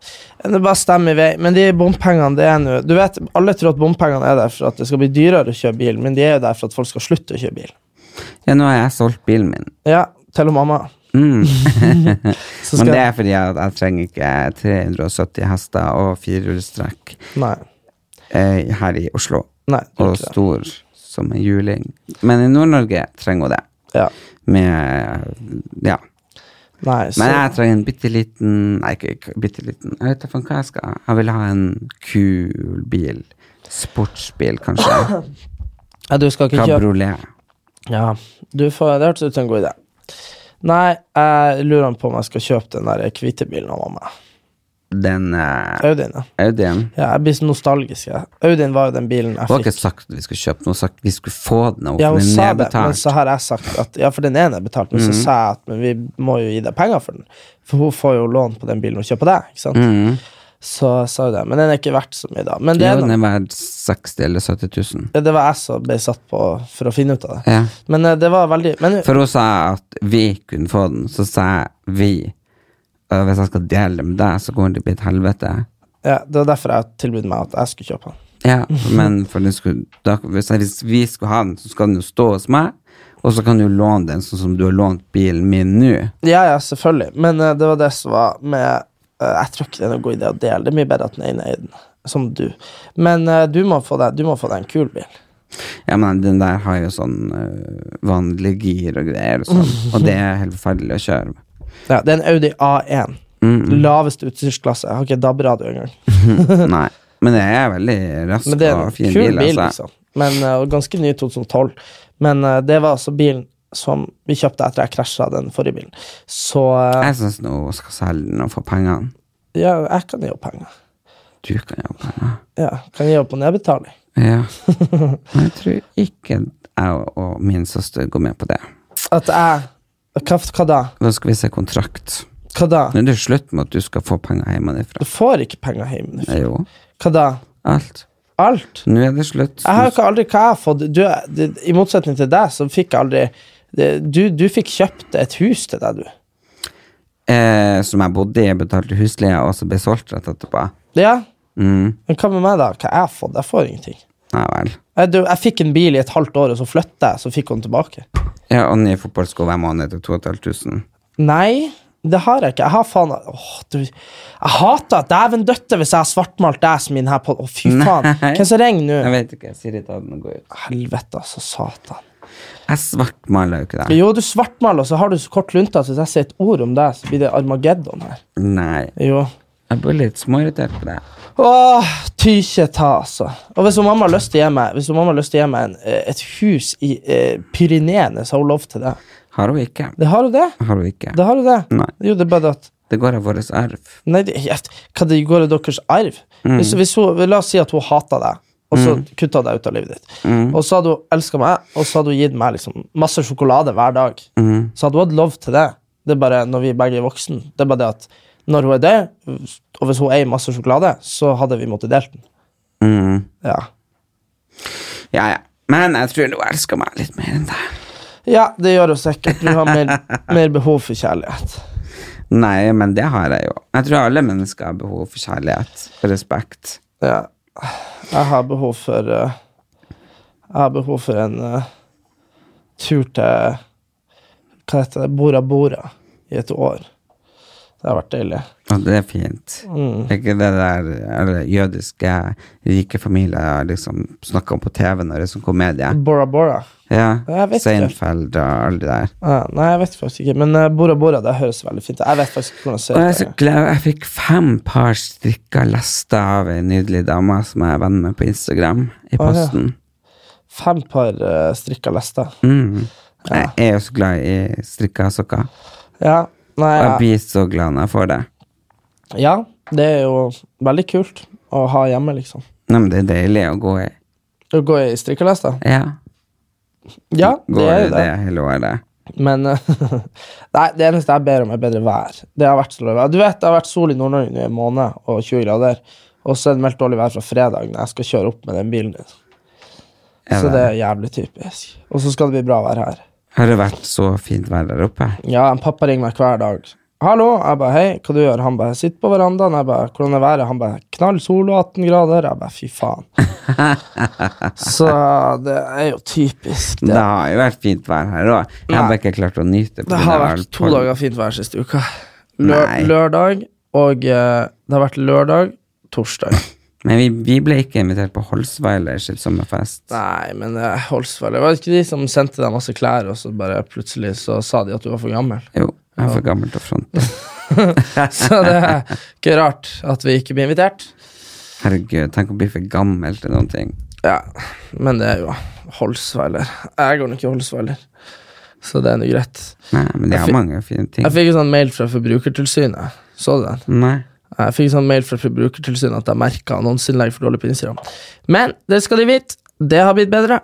S2: Det er bare stem i vei. Men de bompengene, det er nå Du vet, alle tror at bompengene er der for at det skal bli dyrere å kjøre bil, men de er jo der for at folk skal slutte å kjøre bil.
S1: Ja, nå har jeg solgt bilen min.
S2: Ja, til og mamma.
S1: Mm.
S2: Så
S1: Men
S2: skal
S1: det er fordi at jeg trenger ikke 370 hester og firehjulstrekk
S2: Nei.
S1: eh, her i Oslo.
S2: Nei det er
S1: Og
S2: ikke det.
S1: stor som en juling. Men i Nord-Norge trenger hun det.
S2: Ja.
S1: Med Ja.
S2: Nei, så,
S1: Men jeg trenger en bitte liten Nei, ikke- ikke bitte liten. Jeg vet da faen hva jeg skal ha. Jeg vil ha en kul bil. Sportsbil, kanskje.
S2: ja, du skal ikke kjøre
S1: Kabriolet.
S2: Ja, du får, det hørtes ut som en god idé. Nei, jeg lurer på om jeg skal kjøpe den der hvite bilen av mamma.
S1: Den eh,
S2: Audien, ja.
S1: Audien.
S2: ja. Jeg blir så nostalgisk. jeg. Audien var jo den bilen jeg
S1: Hun har ikke
S2: fikk.
S1: sagt at vi skulle kjøpe den, hun har sagt at vi skulle få den. Og
S2: Ja,
S1: få
S2: hun
S1: den Mhm.
S2: sa det, men
S1: nedbetalt.
S2: så har jeg sagt at Ja, for den ene er betalt, men så sa jeg at men vi må jo gi deg penger for den. For hun får jo lån på den bilen hun kjøper deg, ikke sant?
S1: Mhm.
S2: Så jeg sa jo det. Men den er ikke verdt så mye, da. Men det,
S1: Ja,
S2: er
S1: den
S2: noe-
S1: er verdt 60 eller 70 000.
S2: det var jeg som ble satt på for å finne ut av det.
S1: Ja.
S2: Men eh, det var veldig Men
S1: For hun sa at vi kunne få den, så sa jeg vi. Og hvis jeg skal dele det med deg, så kommer det til å bli et helvete.
S2: ja, det var derfor jeg tilbød meg at jeg skulle kjøpe den.
S1: Ja, men for den skulle, da, hvis, jeg, hvis vi skulle ha den, så skal den jo stå hos meg. Og så kan du låne den sånn som du har lånt bilen min nå.
S2: Ja, ja, selvfølgelig. Men eh, det var det som var med eh, Jeg tror ikke det er noen god idé å dele. Det er mye bedre at den ene eier den, som du. Men eh, du, må få deg, du må få deg en kul bil.
S1: Ja, men den der har jo sånn øh, vanlig gir og greier og sånn. Og det er helt forferdelig å kjøre med.
S2: Ja, det er en Audi A1.
S1: Mm,
S2: Laveste utstyrsklasse. Jeg har ikke DAB-radio engang.
S1: mm, nei. Men det er veldig rask
S2: Men det er
S1: og
S2: en
S1: fin
S2: kul bil,
S1: bil, altså.
S2: liksom. Men, eh, og ganske ny i 2012. Men eh, det var altså bilen som vi kjøpte etter jeg krasja den forrige bilen. Så eh,
S1: Jeg syns nå hun skal selge den og få pengene.
S2: ja, jeg kan gi opp penger.
S1: Du kan jo ha penger.
S2: Ja, kan gi opp på nedbetaling.
S1: Ja. Men jeg tror ikke jeg og min søster går med på det.
S2: At jeg Hva, hva da?
S1: Da skal vi se kontrakt.
S2: Hva da?
S1: Nå er det slutt med at du skal få penger hjemmefra.
S2: Du får ikke penger hjemme.
S1: Ja, Jo,
S2: Hva da?
S1: alt.
S2: Alt?
S1: Nå er det slutt.
S2: Jeg har jo ikke aldri hva jeg har fått. Du, det, I motsetning til deg, så fikk jeg aldri det, du, du fikk kjøpt et hus til deg, du.
S1: Eh, som jeg bodde i, jeg betalte husleie, og så ble solgt rett etterpå.
S2: Ja,
S1: Mm.
S2: Men hva med meg, da? Hva jeg har fått? Jeg får ingenting.
S1: Nei vel.
S2: Jeg, du, jeg fikk en bil i et halvt år, og så flytta jeg, så fikk hun tilbake.
S1: Ja, og nye fotballsko hver måned til 2500.
S2: Nei, det har jeg ikke. Jeg har faen Åh, du Jeg hater at dæven døtte hvis jeg har svartmalt deg som min her på Å, fy faen.
S1: Nei.
S2: Hvem som ringer
S1: Jeg
S2: nå?
S1: vet ikke. Siri ta den og gå ut.
S2: Helvete, altså. Satan.
S1: Jeg svartmaler jo ikke det.
S2: Jo, du svartmaler, og så har du så kort lunte at hvis jeg sier et ord om deg, så blir det Armageddon her.
S1: Nei.
S2: Jo.
S1: Jeg blir litt småirritert på det.
S2: Åh, tykje ta, altså. Og hvis hun mamma har lyst til å gi meg, hvis hun mamma har lyst til å gi meg en, eh, et hus i eh, Pyreneene, så har hun lov til det.
S1: Har hun ikke.
S2: Det har hun det.
S1: Har hun ikke.
S2: Det har hun det.
S1: Nei.
S2: Jo, det er bare det at
S1: Det går av vår arv.
S2: Nei, det, jeg- hva det går i deres arv? Hvis, hvis hun, la oss si at hun hater deg, og så kutta deg ut av livet ditt. Og så hadde hun elska meg, og så hadde hun gitt meg liksom masse sjokolade hver dag. Så hadde hun hatt lov til det. Det er bare når vi begge er voksen Det er bare det at når hun er død, og hvis hun eier masse sjokolade, så hadde vi måttet delt den.
S1: Mm.
S2: Ja.
S1: Ja, ja. Men jeg tror hun elsker meg litt mer enn deg.
S2: ja, det gjør hun sikkert. Du har mer, mer behov for kjærlighet.
S1: Nei, men det har jeg jo. Jeg tror alle mennesker har behov for kjærlighet og respekt.
S2: Ja. Jeg har behov for eh, Jeg har behov for en eh, tur til Hva heter det? Bora Bora i et år. Det har vært deilig.
S1: Og det er fint.
S2: Mm.
S1: Det er ikke det der eller, jødiske rike familier liksom snakker om på TV når det er sånn komedie.
S2: Bora Bora.
S1: Ja,
S2: Jeg vet ikke.
S1: Seinfeld og alle de der.
S2: Ja, nei, jeg vet faktisk ikke, men eh, Bora Bora det høres veldig fint ut. Jeg vet faktisk ikke hvordan det
S1: Og jeg, er
S2: ser
S1: så
S2: ut.
S1: glad. jeg fikk fem par strikker lesta av ei nydelig dame som jeg er venn med på Instagram, i
S2: ja.
S1: posten.
S2: Fem par eh, strikka lester.
S1: Mm. Jeg er jo så glad i strikka sokker.
S2: Ja, nei,
S1: Og jeg
S2: ja.
S1: blir så glad når jeg får det.
S2: ja, det er jo veldig kult å ha hjemme, liksom.
S1: Nei, men det er deilig å gå i.
S2: Å gå i strikka lester.
S1: Ja.
S2: Ja, det
S1: Går
S2: er
S1: i
S2: jo
S1: det
S2: det.
S1: hele året.
S2: Men eh, nei, det eneste jeg ber om, er bedre vær. Det har vært så dårlig vær. Du vet, det har vært sol i Nord-Norge nå i en måned og 20 grader, og så er det meldt dårlig vær fra fredag når jeg skal kjøre opp med den bilen din.
S1: Er
S2: Så
S1: det?
S2: det er jævlig typisk. Og så skal det bli bra vær her.
S1: Har det vært så fint vær der oppe?
S2: Ja, en pappa ringer meg hver dag. 'Hallo.' Jeg bare 'Hei, hva du gjør?' Han bare 'Sitter på verandaen.' Jeg bare 'Hvordan er været?' Han bare 'Knall sol og 18 grader.' Jeg bare 'Fy faen'. så det er jo typisk,
S1: Det
S2: det.
S1: har jo vært fint vær her òg. Jeg har
S2: Nei.
S1: bare ikke klart å nyte på
S2: Det
S1: grunn
S2: har
S1: av
S2: vært to
S1: alkohol.
S2: dager fint vær siste uka. Lø
S1: Nei.
S2: lørdag og eh, Det har vært lørdag, torsdag.
S1: Men vi, vi ble ikke invitert på Holsweiler sitt sommerfest.
S2: Nei, men eh, Holsvall Det var ikke de som sendte deg masse klær, og så bare plutselig så sa de at du var for gammel.
S1: Jo, jeg er for gammel til å fronte.
S2: Så det er ikke rart at vi ikke blir invitert.
S1: Herregud, tenk å bli for gammel til noen ting.
S2: Ja, men det er jo Holsweiler. Jeg går nok i Holsweiler, så det er nå greit.
S1: Nei, men de
S2: Jeg
S1: har
S2: fikk-
S1: mange fine ting.
S2: Jeg fikk en sånn mail fra Forbrukertilsynet. Så du den?
S1: Nei.
S2: Jeg fikk en sånn mail fra Forbrukertilsynet at jeg merka annonseinnlegg for dårlig på Instagram. Men det skal de vite, det har blitt bedre.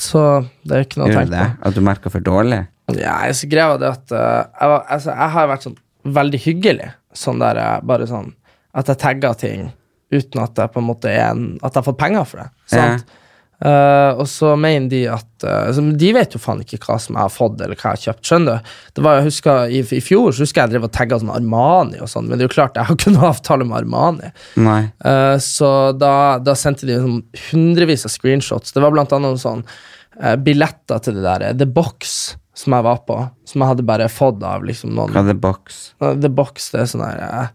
S2: Så det er ikke noe å
S1: Gjør du
S2: tenke
S1: det?
S2: på.
S1: At du merker for dårlig?
S2: Ja, jeg så greia var det at eh, jeg, var, altså, jeg har vært sånn veldig hyggelig. Sånn der eh, bare sånn At jeg tagger ting uten at jeg på en måte er en At jeg har fått penger for det.
S1: Ja.
S2: Sant? Eh, og så mener de at eh, altså, men De vet jo faen ikke hva som jeg har fått, eller hva jeg har kjøpt. Skjønner du? Det var, jeg husker, i, I fjor så husker jeg jeg drev og tagga sånn Armani og sånn, men det er jo klart jeg har ikke noe avtale med Armani.
S1: Nei.
S2: Eh, så da, da sendte de sånn hundrevis av screenshots. Det var blant annet noen sånn eh, billetter til det der eh, The Box som jeg var på, som jeg hadde bare fått av liksom noen.
S1: Hva er det boks?
S2: Eh, The Box, det er sånn her eh,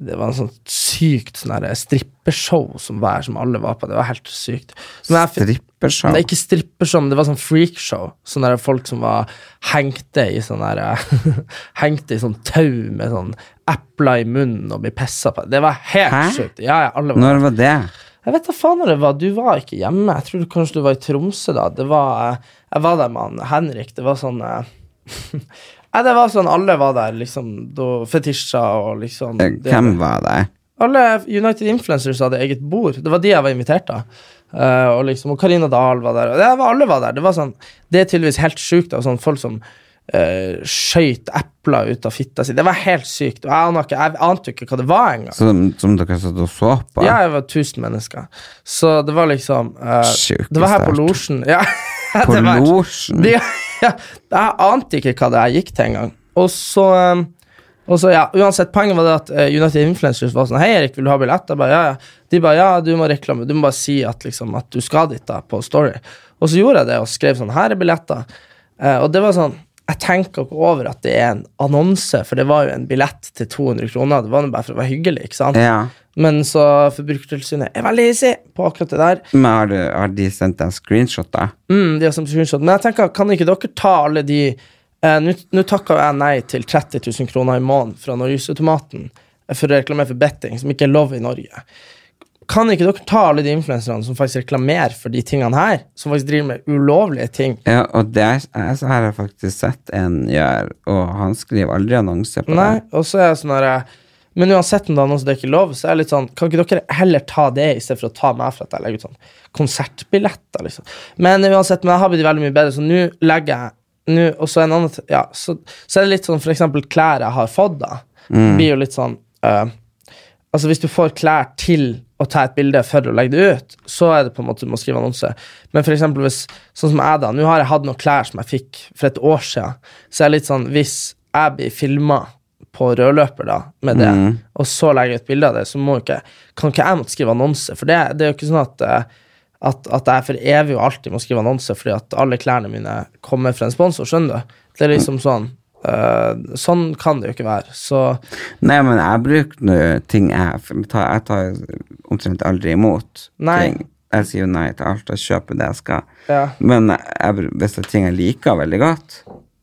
S2: Det var en sånn sykt sånn her eh, strippeshow som hver som alle var på. Det var helt sykt. Men jeg fi-
S1: Strippershow?
S2: Nei, ikke strippeshow, men det var sånn freakshow. Sånne der folk som var hengte i sånn der Hengte i sånn tau med sånn epler i munnen og ble pissa på. Det var helt
S1: Hæ?
S2: sjukt. Ja, ja, alle var
S1: Når var det?
S2: Jeg vet da faen når det var. Du var ikke hjemme. Jeg tror du, kanskje du var i Tromsø da. Det var eh, Jeg var der med han Henrik. Det var sånn eh, Nei, det var sånn alle var der, liksom. da- Fetisjer og liksom
S1: Eh,
S2: det-
S1: Hvem var det?
S2: alle United Influencers hadde eget bord. Det var de jeg var invitert av. Eh, og liksom, og Karina Dahl var der. Og det var, alle var der. Det var sånn, det er tydeligvis helt sjukt av sånn folk som uh, skøyt epler ut av fitta si. Det var helt sykt. Og jeg, aner ikke- jeg ante jo ikke hva det var engang.
S1: Som, som dere satt og så på?
S2: Ja, jeg var 1000 mennesker. Så det var liksom eh,
S1: Sjukt
S2: Det var her på
S1: sterkt.
S2: losjen. Ja, det
S1: På
S2: var-
S1: losjen?
S2: Det- ja, Jeg ante ikke hva det jeg gikk til engang. Og så eh, og så, ja, uansett, Poenget var det at eh, United Influencers var sånn Hei, Erik, vil du ha billett? Jeg bare, ja, ja. De bare ja, du må reklame, du må bare si at, liksom, at du skal dit da, på Story. Og så gjorde jeg det og skrev sånn Her er billetter. Eh, og det var sånn Jeg tenker ikke over at det er en annonse, for det var jo en billett til 200 kroner. Det var jo bare for å være hyggelig, ikke sant?
S1: Ja.
S2: Men så Forbrukertilsynet er veldig hissig på akkurat det der.
S1: Men har, du, har de sendt deg screenshot, da?
S2: Mm, de har som screenshot. Men jeg tenker, kan ikke dere ta alle de eh, Nå nå takka jeg nei til 30 000 kroner i måneden fra Norgesautomaten eh, for å reklamere for betting, som ikke er lov i Norge. Kan ikke dere ta alle de influenserne som faktisk reklamerer for de tingene her? Som faktisk driver med ulovlige ting?
S1: Ja, og det er, jeg- så har jeg faktisk sett en gjøre, og han skriver aldri annonse på
S2: Nei,
S1: det.
S2: og så er jeg sånn her eh, Men uansett om det er noe som det ikke er lov, så er jeg litt sånn Kan ikke dere heller ta det istedenfor å ta meg for at jeg legger ut sånn konsertbilletter, liksom. Men uansett, men jeg har blitt veldig mye bedre, så nå legger jeg nå, og så, en annen, t- ja, så, så er det litt sånn for eksempel klær jeg har fått, da. Blir jo litt sånn eh, Altså Hvis du får klær til å ta et bilde for å legge det ut, så er det på en måte du må skrive annonse. Men for eksempel hvis, sånn som jeg da, nå har jeg hatt noen klær som jeg fikk for et år siden. Så jeg er litt sånn, hvis jeg blir filma på rødløper da, med det, og så legger jeg ut bilde av det, så må ikke, kan ikke jeg måtte skrive annonse. For det, det er jo ikke sånn at, eh, at, at jeg for evig og alltid må skrive annonse fordi at alle klærne mine kommer fra en sponsor, skjønner du. Det er liksom sånn Eh, sånn kan det jo ikke være. Så
S1: Nei, men jeg bruker nå ting jeg for Jeg tar, jeg tar omtrent aldri imot
S2: Nei.
S1: ting. Jeg sier jo nei til alt, jeg kjøper det jeg skal.
S2: Ja.
S1: Men jeg, br- hvis det er ting jeg liker veldig godt,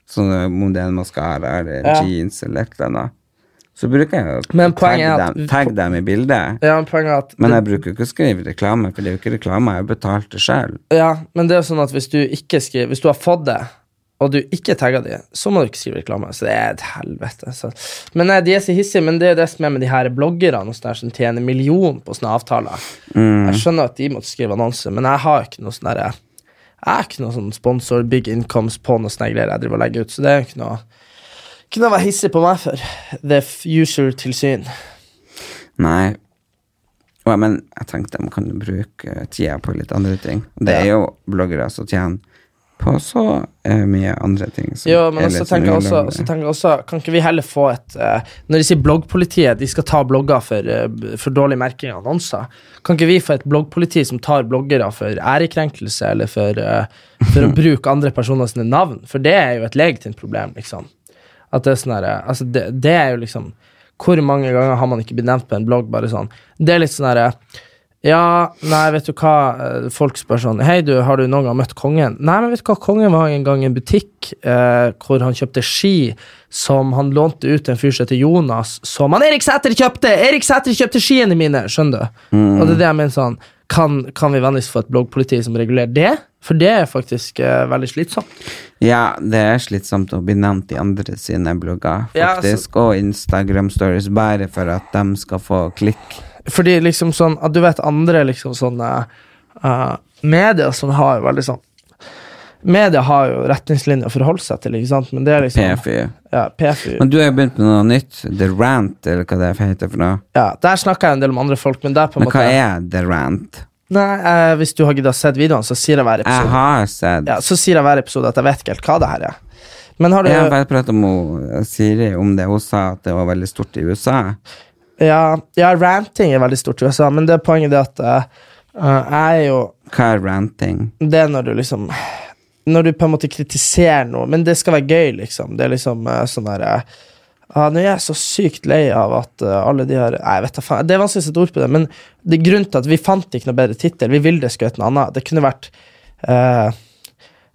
S1: sånn om det er en maskara eller en
S2: Ja.
S1: jeans eller et eller annet, så bruker jeg jo
S2: Men
S1: å
S2: poenget er at-
S1: dem, tagge dem i bildet.
S2: ja, poenget er at
S1: Men jeg bruker jo ikke å skrive reklame, for det er jo ikke reklame, jeg har jo betalt det sjøl.
S2: Ja, men det er jo sånn at hvis du ikke skriver Hvis du har fått det, og du ikke tagger de, så må du ikke skrive reklame. Så det er et helvete. Så. Men nei, de er så hissige, men det er jo det som er med de her bloggerne og sånne her som tjener million på sånne avtaler. Jeg skjønner at de måtte skrive annonse, men jeg har ikke noe sånn derre Jeg er ikke noe sånn sponsor, big incomes på noe sånne greier jeg driver og legger ut, så det er jo ikke noe Ikke noe å være hissig på meg for. The user-tilsyn.
S1: Nei. Og, jeg- men jeg tenkte de kan jo bruke tida på litt andre ting. Det er jo bloggere som tjener på så eh, mye andre ting. som
S2: Jo, men
S1: er litt
S2: også
S1: sånn
S2: tenker, jeg også,
S1: ulovlig.
S2: også tenker jeg også Kan ikke vi heller få et eh, Når de sier bloggpolitiet, de skal ta blogger for, eh, b- for dårlig merking av annonser. Kan ikke vi få et bloggpoliti som tar bloggere for ærekrenkelse eller for, eh, for å bruke andre personer sine navn? For det er jo et legitimt problem, liksom. At det er sånn her, eh, altså det, det er jo liksom Hvor mange ganger har man ikke blitt nevnt på en blogg? Bare sånn Det er litt sånn herre ja, nei, vet du hva eh, Folk spør sånn Hei du, har du noen gang møtt kongen? Nei, men vet du hva, kongen var en gang i en butikk eh, Hvor han kjøpte ski Som han lånte ut til en fyr som heter Jonas Som han Erik Sæter kjøpte Erik Sæter kjøpte skiene mine, skjønner du? Og det er det jeg mener sånn Kan, kan vi vennligst få et bloggpoliti som regulerer det? For det er faktisk eh, veldig slitsomt
S1: Ja, det er slitsomt å bli nevnt i andre sine blogger,
S2: Ja, altså-
S1: faktisk. Og Instagram-stories, bare for at de skal få klikk.
S2: Fordi liksom sånn at Du vet andre liksom sånne eh, Medier som har jo veldig sånn Media har jo retningslinjer å forholde seg til, ikke sant? Men det er liksom
S1: PFU.
S2: Ja, PFU.
S1: Men du har jo begynt med noe nytt. The Rant, eller hva det heter for noe.
S2: Ja, der snakker jeg en del om andre folk, men der på en
S1: Men
S2: måte
S1: hva er The Rant?
S2: Nei, eh, Hvis du har giddet å sett videoene, så sier jeg hver
S1: Jeg
S2: episode
S1: har sett
S2: Ja, så sier jeg hver episode at jeg vet ikke helt hva det her er. Men har du
S1: Jeg har bare pratet med hun, Siri om det. Hun sa at det var veldig stort i USA.
S2: Ja, ja ranting er veldig stort i USA, men det er poenget det at eh, eh, jeg er jo
S1: Hva er ranting?
S2: Det er når du liksom Når du på en måte kritiserer noe, men det skal være gøy, liksom. Det er liksom eh, sånn der eh, ah, Nå er jeg så sykt lei av at eh, alle de her Nei, jeg vet da faen. Det er vanskelig å sette ord på det, men det er grunnen til at vi fant ikke noe bedre tittel. Vi ville det skulle hett noe annet. Det kunne vært eh,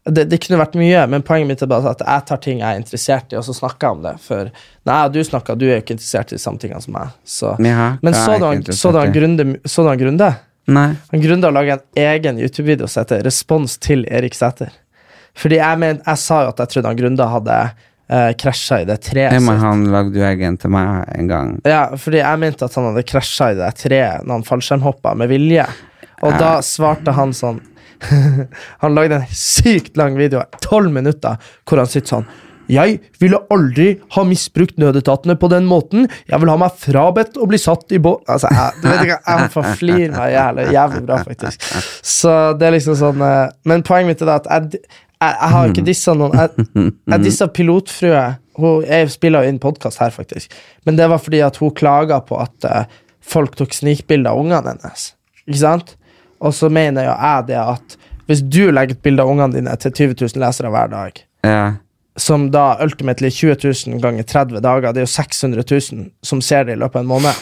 S2: det, det kunne vært mye, men poenget mitt er bare at jeg tar ting jeg er interessert i, og så snakker jeg om det. For nei, du snakker, du er jo ikke interessert i de samme tingene som meg. Så.
S1: Jaha,
S2: men
S1: hva er
S2: så
S1: jeg
S2: du
S1: ikke
S2: han-
S1: interessert
S2: så du han
S1: i?
S2: Grunde? Så du han Grunde?
S1: Nei.
S2: Han grunnet å lage en egen YouTube-video som heter 'Respons til Erik Sæther'. Fordi jeg, men, jeg sa jo at jeg trodde han Grunda hadde eh, krasja i det treet.
S1: Ja,
S2: sitt.
S1: men han lagde jo egen til meg en gang.
S2: Ja, fordi jeg mente at han hadde krasja i det treet når han fallskjermhoppa med vilje. Og da svarte han sånn Han lagde en sykt lang video, tolv minutter, hvor han sitter sånn jeg ville aldri ha misbrukt nødetatene på den måten. Jeg vil ha meg frabedt å bli satt i bå... Altså, jeg, du vet ikke, jeg får flire meg jævlig, jævlig bra, faktisk. Så det er liksom sånn eh, Men poenget mitt er da at jeg, jeg, jeg har ikke dissa noen Jeg, jeg dissa pilotfrue hun, Jeg spiller jo inn podkast her, faktisk. Men det var fordi at hun klaga på at eh, folk tok snikbilder av ungene hennes. Ikke sant? Og så mener jo jeg det at hvis du legger et bilde av ungene dine til 20 000 lesere hver dag,
S1: Ja.
S2: som da ultimately 20 000 ganger 30 dager, det er jo 600 000 som ser det i løpet av en måned.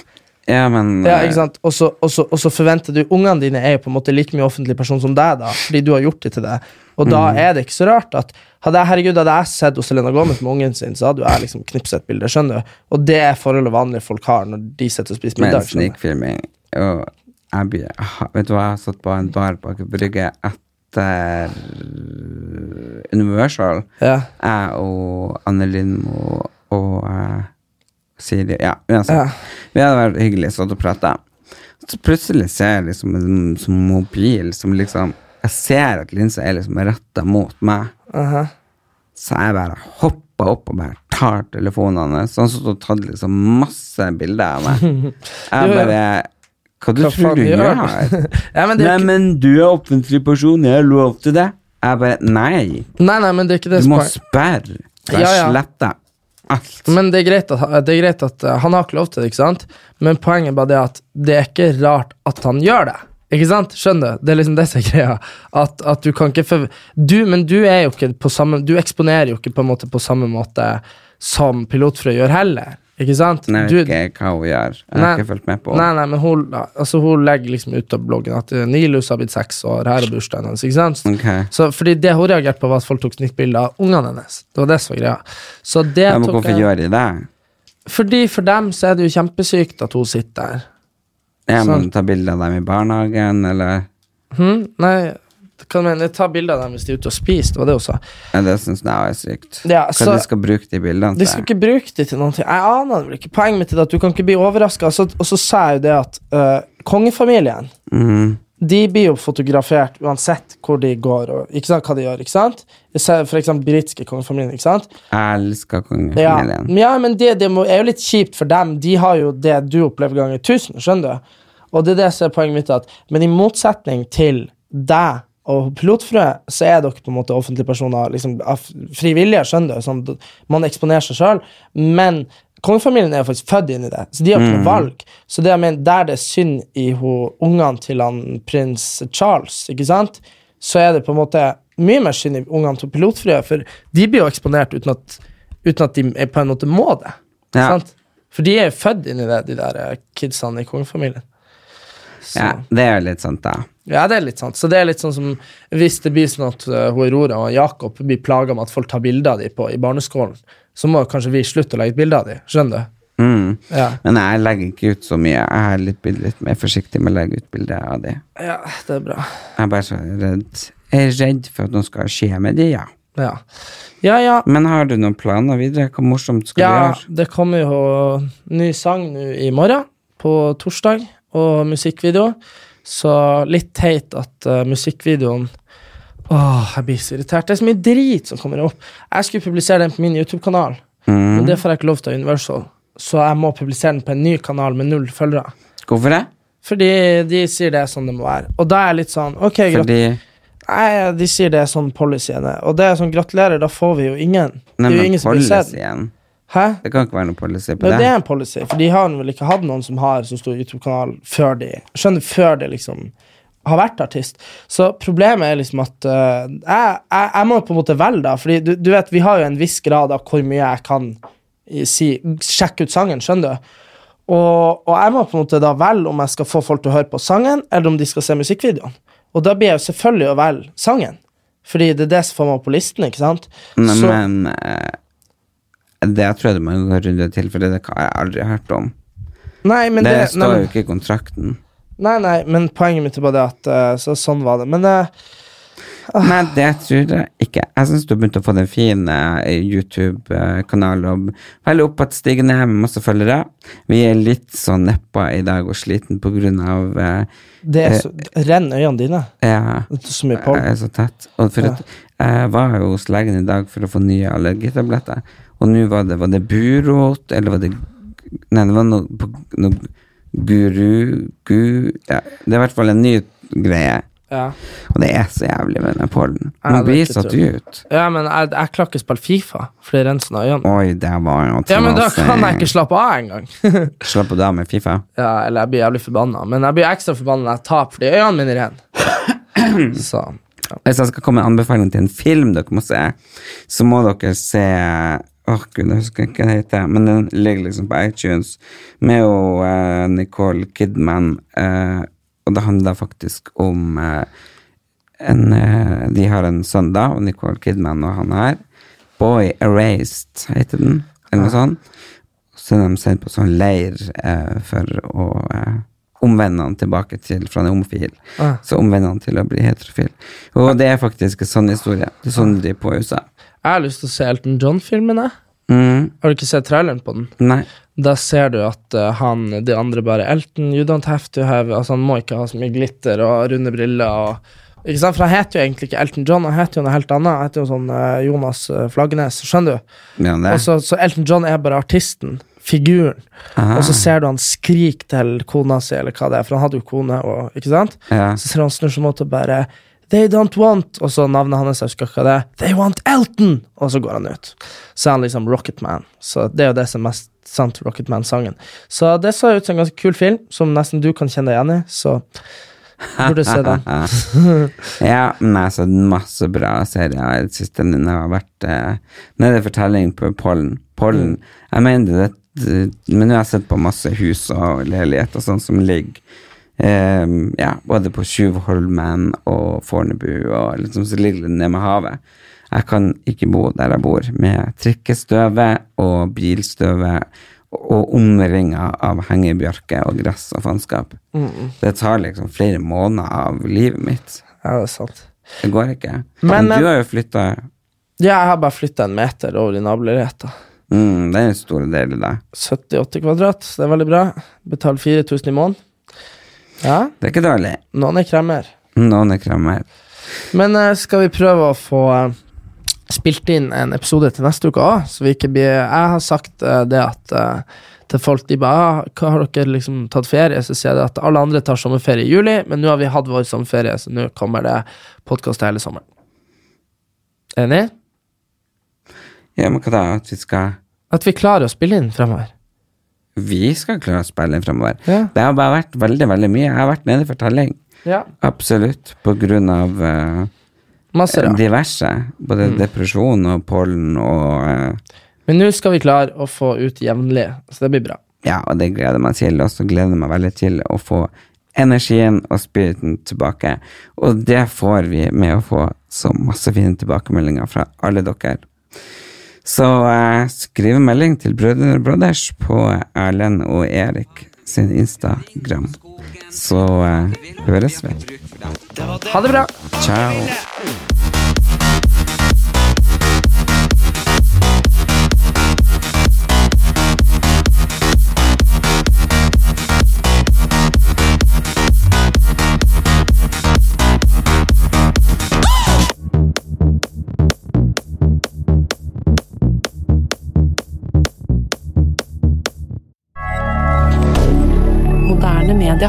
S1: Ja, men
S2: Ja,
S1: eh,
S2: ikke sant? Og så- Og så og så forventer du Ungene dine er jo på en måte like mye offentlig person som deg, da, fordi du har gjort det til deg. Og
S1: Mm.
S2: da er det ikke så rart at hadde jeg, herregud, hadde jeg sett hos Selena Gomez med ungen sin, så hadde jo jeg liksom knipset et bilde. skjønner du? Og det er forholdet vanlige folk har når de sitter og spiser
S1: Men
S2: middag. skjønner du?
S1: snikfilming og jeg blir, ah, Vet du hva, jeg satt på en bar bak i brygge etter Universal.
S2: Ja.
S1: Jeg og Anne Lindmo og eh, Siri Ja, uansett.
S2: Ja.
S1: Vi hadde vært hyggelig, satt og prata. Så plutselig ser jeg liksom en sånn mobil som liksom Jeg ser at linsa er liksom retta mot meg.
S2: Aha.
S1: Så jeg bare hoppa opp og bare tar telefonen hans. Han satt og tatt liksom masse bilder av meg. Jeg
S2: Jo, ja.
S1: bare Hva du
S2: Hva faen
S1: tror du
S2: gjør
S1: gjør?
S2: du? Ja, men det er
S1: Nei,
S2: ikke-
S1: men du er offentlig person, jeg har lov til det. Jeg bare Nei,
S2: Nei, nei, men det er ikke det
S1: du
S2: som
S1: må
S2: er-
S1: sperre. Så
S2: Ja,
S1: jeg
S2: ja.
S1: sletter alt.
S2: Men det er greit at, det er greit at eh, han har ikke lov til det, ikke sant? Men poenget er bare det at det er ikke rart at han gjør det. Ikke sant? Skjønner du? Det er liksom det som er greia. At, at du kan ikke forv... Du, men du er jo ikke på samme Du eksponerer jo ikke på en måte på samme måte som pilotfrø gjør heller. Ikke sant?
S1: Jeg vet
S2: Du-
S1: ikke hva hun gjør. Jeg har ikke fulgt med på
S2: Nei, nei, men hun, altså, hun legger liksom ut av bloggen at eh, Nilus har blitt seks år, her er bursdagen hennes. ikke sant?
S1: Ok.
S2: Så, fordi det hun reagerte på, var at folk tok snittbilder av ungene hennes. Det var det som var greia. Så det
S1: Ja, men
S2: tok
S1: hvorfor
S2: jeg-
S1: gjør de det?
S2: Fordi for dem så er det jo kjempesykt at hun sitter der.
S1: Ja, men
S2: Sant.
S1: ta bilde av dem i barnehagen, eller
S2: Hm? Nei, hva mener du? Ta bilder av dem hvis de er ute og spiser, det var det hun sa.
S1: Ja, Det syns jeg også er sykt.
S2: Ja,
S1: hva
S2: så-
S1: de skal bruke de bildene
S2: De skal
S1: til.
S2: ikke bruke det til noen ting. Jeg aner det vel ikke. Poenget mitt er at du kan ikke bli overraska. Og så- og så sa jeg jo det at eh, kongefamilien
S1: Mhm.
S2: de blir jo fotografert uansett hvor de går og ikke sant, hva de gjør. ikke sant? Jeg ser For eksempel britiske kongefamilien. ikke sant?
S1: Jeg elsker
S2: Ja,
S1: kongefamilien.
S2: ja men det, det må, er jo litt kjipt for dem. De har jo det du opplever ganger tusen, skjønner du? Og det er det som er poenget mitt. at, Men i motsetning til deg og pilotfrø, så er dere på en måte offentlige personer liksom, av fri vilje, skjønner du? Sånn, d- man eksponerer seg sjøl. Men kongefamilien er jo faktisk født inn i det, så de har ikke noe valg. Så det jeg mener, der det er synd i ho- ungene til han prins Charles, ikke sant, så er det på en måte mye mer synd i ungene til pilotfrø, for de blir jo eksponert uten at uten at de er på en måte må det.
S1: Ja.
S2: Sant? For de er født inn i det, de der eh, kidsene i kongefamilien. Så,
S1: Ja,
S2: ja.
S1: det er jo litt sant, da.
S2: det er litt sant. Så det er litt sånn som hvis det blir sånn at eh, hun Aurora og Jakob blir plaga med at folk tar bilder av dem på, i barneskolen, så må kanskje vi slutte å legge ut bilder av dem. Skjønner du?
S1: Mm.
S2: Ja.
S1: Men jeg legger ikke ut så mye. Jeg er litt, bild- litt mer forsiktig med å legge ut bilder av de.
S2: ja, det er bra.
S1: Jeg er bare så redd. Jeg er redd for at noe skal skje med de, ja.
S2: Ja, ja. ja.
S1: Men har du noen planer videre? Hva morsomt skal
S2: ja
S1: du gjøre?
S2: det kommer jo ny sang nå i morgen, på torsdag, og musikkvideo. Så litt teit at eh, musikkvideoen Åh, jeg blir så irritert. Det er så mye drit som kommer opp. Jeg skulle publisere den på min YouTube-kanal,
S1: Mm.
S2: men det får jeg ikke lov til av Universal. Så jeg må publisere den på en ny kanal med null følgere.
S1: Hvorfor det?
S2: Fordi de sier det er sånn det må være. Og da er jeg litt sånn Ok, grat-
S1: Fordi
S2: Nei, de sier det er sånn policyen er. Og det er sånn, gratulerer, da får vi jo ingen.
S1: Nei,
S2: det er jo
S1: men
S2: ingen som blir sett.
S1: policyen.
S2: Hæ?
S1: Det kan ikke være noe policy på
S2: Nei, det
S1: det.
S2: er en policy, for de har vel ikke hatt noen som har så stor YouTube-kanal før de Skjønner, før de liksom har vært artist. Så problemet er liksom at eh, jeg, jeg, jeg må på en måte velge, da. Fordi du, du vet, vi har jo en viss grad av hvor mye jeg kan i- si Sjekke ut sangen, skjønner du? Og, og jeg må på en måte da velge om jeg skal få folk til å høre på sangen, eller om de skal se musikkvideoen. Og da blir jeg jo selvfølgelig å velge sangen, fordi det er det som får meg opp på listen, ikke sant?
S1: Nei,
S2: Så-
S1: men eh, det tror jeg du må gå en runde til, for det har jeg aldri hørt om.
S2: nei, men
S1: det,
S2: det, nei,
S1: står
S2: men-
S1: jo ikke i kontrakten.
S2: Nei, nei, men poenget mitt er bare det at eh, så, Sånn var det. Men eh,
S1: Nei, det tror jeg ikke. Jeg syns du begynte å få den fine eh, YouTube-kanalen. og Veldig oppadstigende med masse følgere. Vi er litt sånn neppa i dag og sliten på grunn av eh,
S2: det er så, renn øynene dine.
S1: ja,
S2: Det er så mye
S1: Jeg
S2: pollen.
S1: er så tett. Og for at, jeg var jo hos legen i dag for å få nye allergitabletter, og nå var det Var det burot, eller var det Nei, det var noe, på- noe guru gu, ja, Det er i hvert fall en ny greie.
S2: Ja.
S1: Og det er så jævlig med den pollen.
S2: Ja,
S1: Man
S2: det er
S1: blir
S2: ikke
S1: så
S2: tull.
S1: ut.
S2: ja, men jeg, jeg klarer ikke å spille Fifa, for det renser ned øynene.
S1: Oi, det var jo
S2: Ja, men da
S1: trasig.
S2: kan jeg ikke slappe av engang.
S1: eh, Slapp av med Fifa.
S2: ja, eller jeg blir jævlig forbanna. Men jeg blir ekstra forbanna når jeg taper, fordi øynene mine er rene. Så
S1: Hvis jeg skal komme med en anbefaling til en film dere må se, så må dere se Åh, gud, jeg husker ikke hva den heter, men den ligger liksom på iTunes med jo eh, Nicole Kidman, eh, og det handler faktisk om eh, en, eh, De har en sønn, da, og Nicole Kidman og han her. Boy Erased heter den, eller noe sånt. Så er de sendt på sånn leir eh, for å eh, omvende han tilbake til fra en homofil.
S2: Ah.
S1: Så omvende han til å bli heterofil. Og det er faktisk en sånn historie. Det er sånn de på i USA.
S2: jeg har lyst til å se Elton John-filmen, jeg.
S1: Mm,
S2: Har du ikke sett traileren på den?
S1: nei.
S2: Da ser du at eh, han, de andre bare Elton, you don't have to have Altså Han må ikke ha så mye glitter og runde briller og Ikke sant? For han heter jo egentlig ikke Elton John, han heter jo noe helt annet. Han heter jo sånn eh, Jonas eh, Flaggenes, skjønner du?
S1: Mener han det?
S2: Og så, så Elton John er bare artisten, figuren.
S1: Ah.
S2: Og så ser du han skriker til kona si, eller hva det er, for han hadde jo kone, og, ikke sant?
S1: Ja.
S2: Så ser han snur seg mot og bare They don't want Og så navnet hans, jeg husker ikke hva det er. They want Elton! Og så går han ut. Så er han liksom Rocketman. Så det er jo det som er mest sant, Rocketman-sangen. Så det så ut som en ganske kul film, som nesten du kan kjenne deg igjen i, så burde du se den.
S1: Ja, men altså, jeg har sett masse bra serier i det siste når jeg har vært eh, nede i fortelling på pollen. pollen. Jeg mener det, men nå har jeg sett på masse hus og leiligheter og sånn som ligger eh, ja, både på Tjuvholmen og Fornebu og liksom så ligger det nede med havet. Jeg kan ikke bo der jeg bor, med trikkestøvet og bilstøvet og omringa av hengebjørke og gress og faenskap. Det tar liksom flere måneder av livet mitt.
S2: Ja, det er sant.
S1: Det går ikke.
S2: Men-
S1: Men,
S2: men-
S1: du har jo flytta
S2: Ja, jeg har bare flytta en meter over i nabolaget.
S1: mm, Det er en stor del i deg.
S2: 78 kvadrat, så det er veldig bra. Betaler 4000 i måneden. Ja,
S1: Det er ikke dårlig.
S2: noen er kremmer.
S1: Noen er krammer.
S2: Men eh, skal vi prøve å få eh, spilt inn en episode til neste uke òg, så vi ikke blir Jeg har sagt eh, det at eh, til folk de bare ah, hva 'Har dere liksom tatt ferie?' Så sier jeg det at alle andre tar sommerferie i juli, men nå har vi hatt vår sommerferie, så nå kommer det podkast hele sommeren. Enig?
S1: Ja, men hva da? At vi skal
S2: At vi klarer å spille inn fremover.
S1: Vi skal klare å spille inn framover.
S2: Ja.
S1: Det har bare vært veldig, veldig mye. Jeg har vært nede for telling.
S2: Ja.
S1: Absolutt. På grunn av eh,
S2: Masse rart.
S1: diverse. Både depresjon og pollen og eh,
S2: Men nå skal vi klare å få ut jevnlig, så det blir bra.
S1: Ja, og det gleder jeg meg til, og så gleder jeg meg veldig til å få energien og spiriten tilbake. Og det får vi med å få så masse fine tilbakemeldinger fra alle dere. Så eh, skriv en melding til Brødrene Brothers på Erlend og Erik sin Instagram. Så eh, høres vi.
S2: Ha det bra!
S1: Ciao.
S3: Moderne media.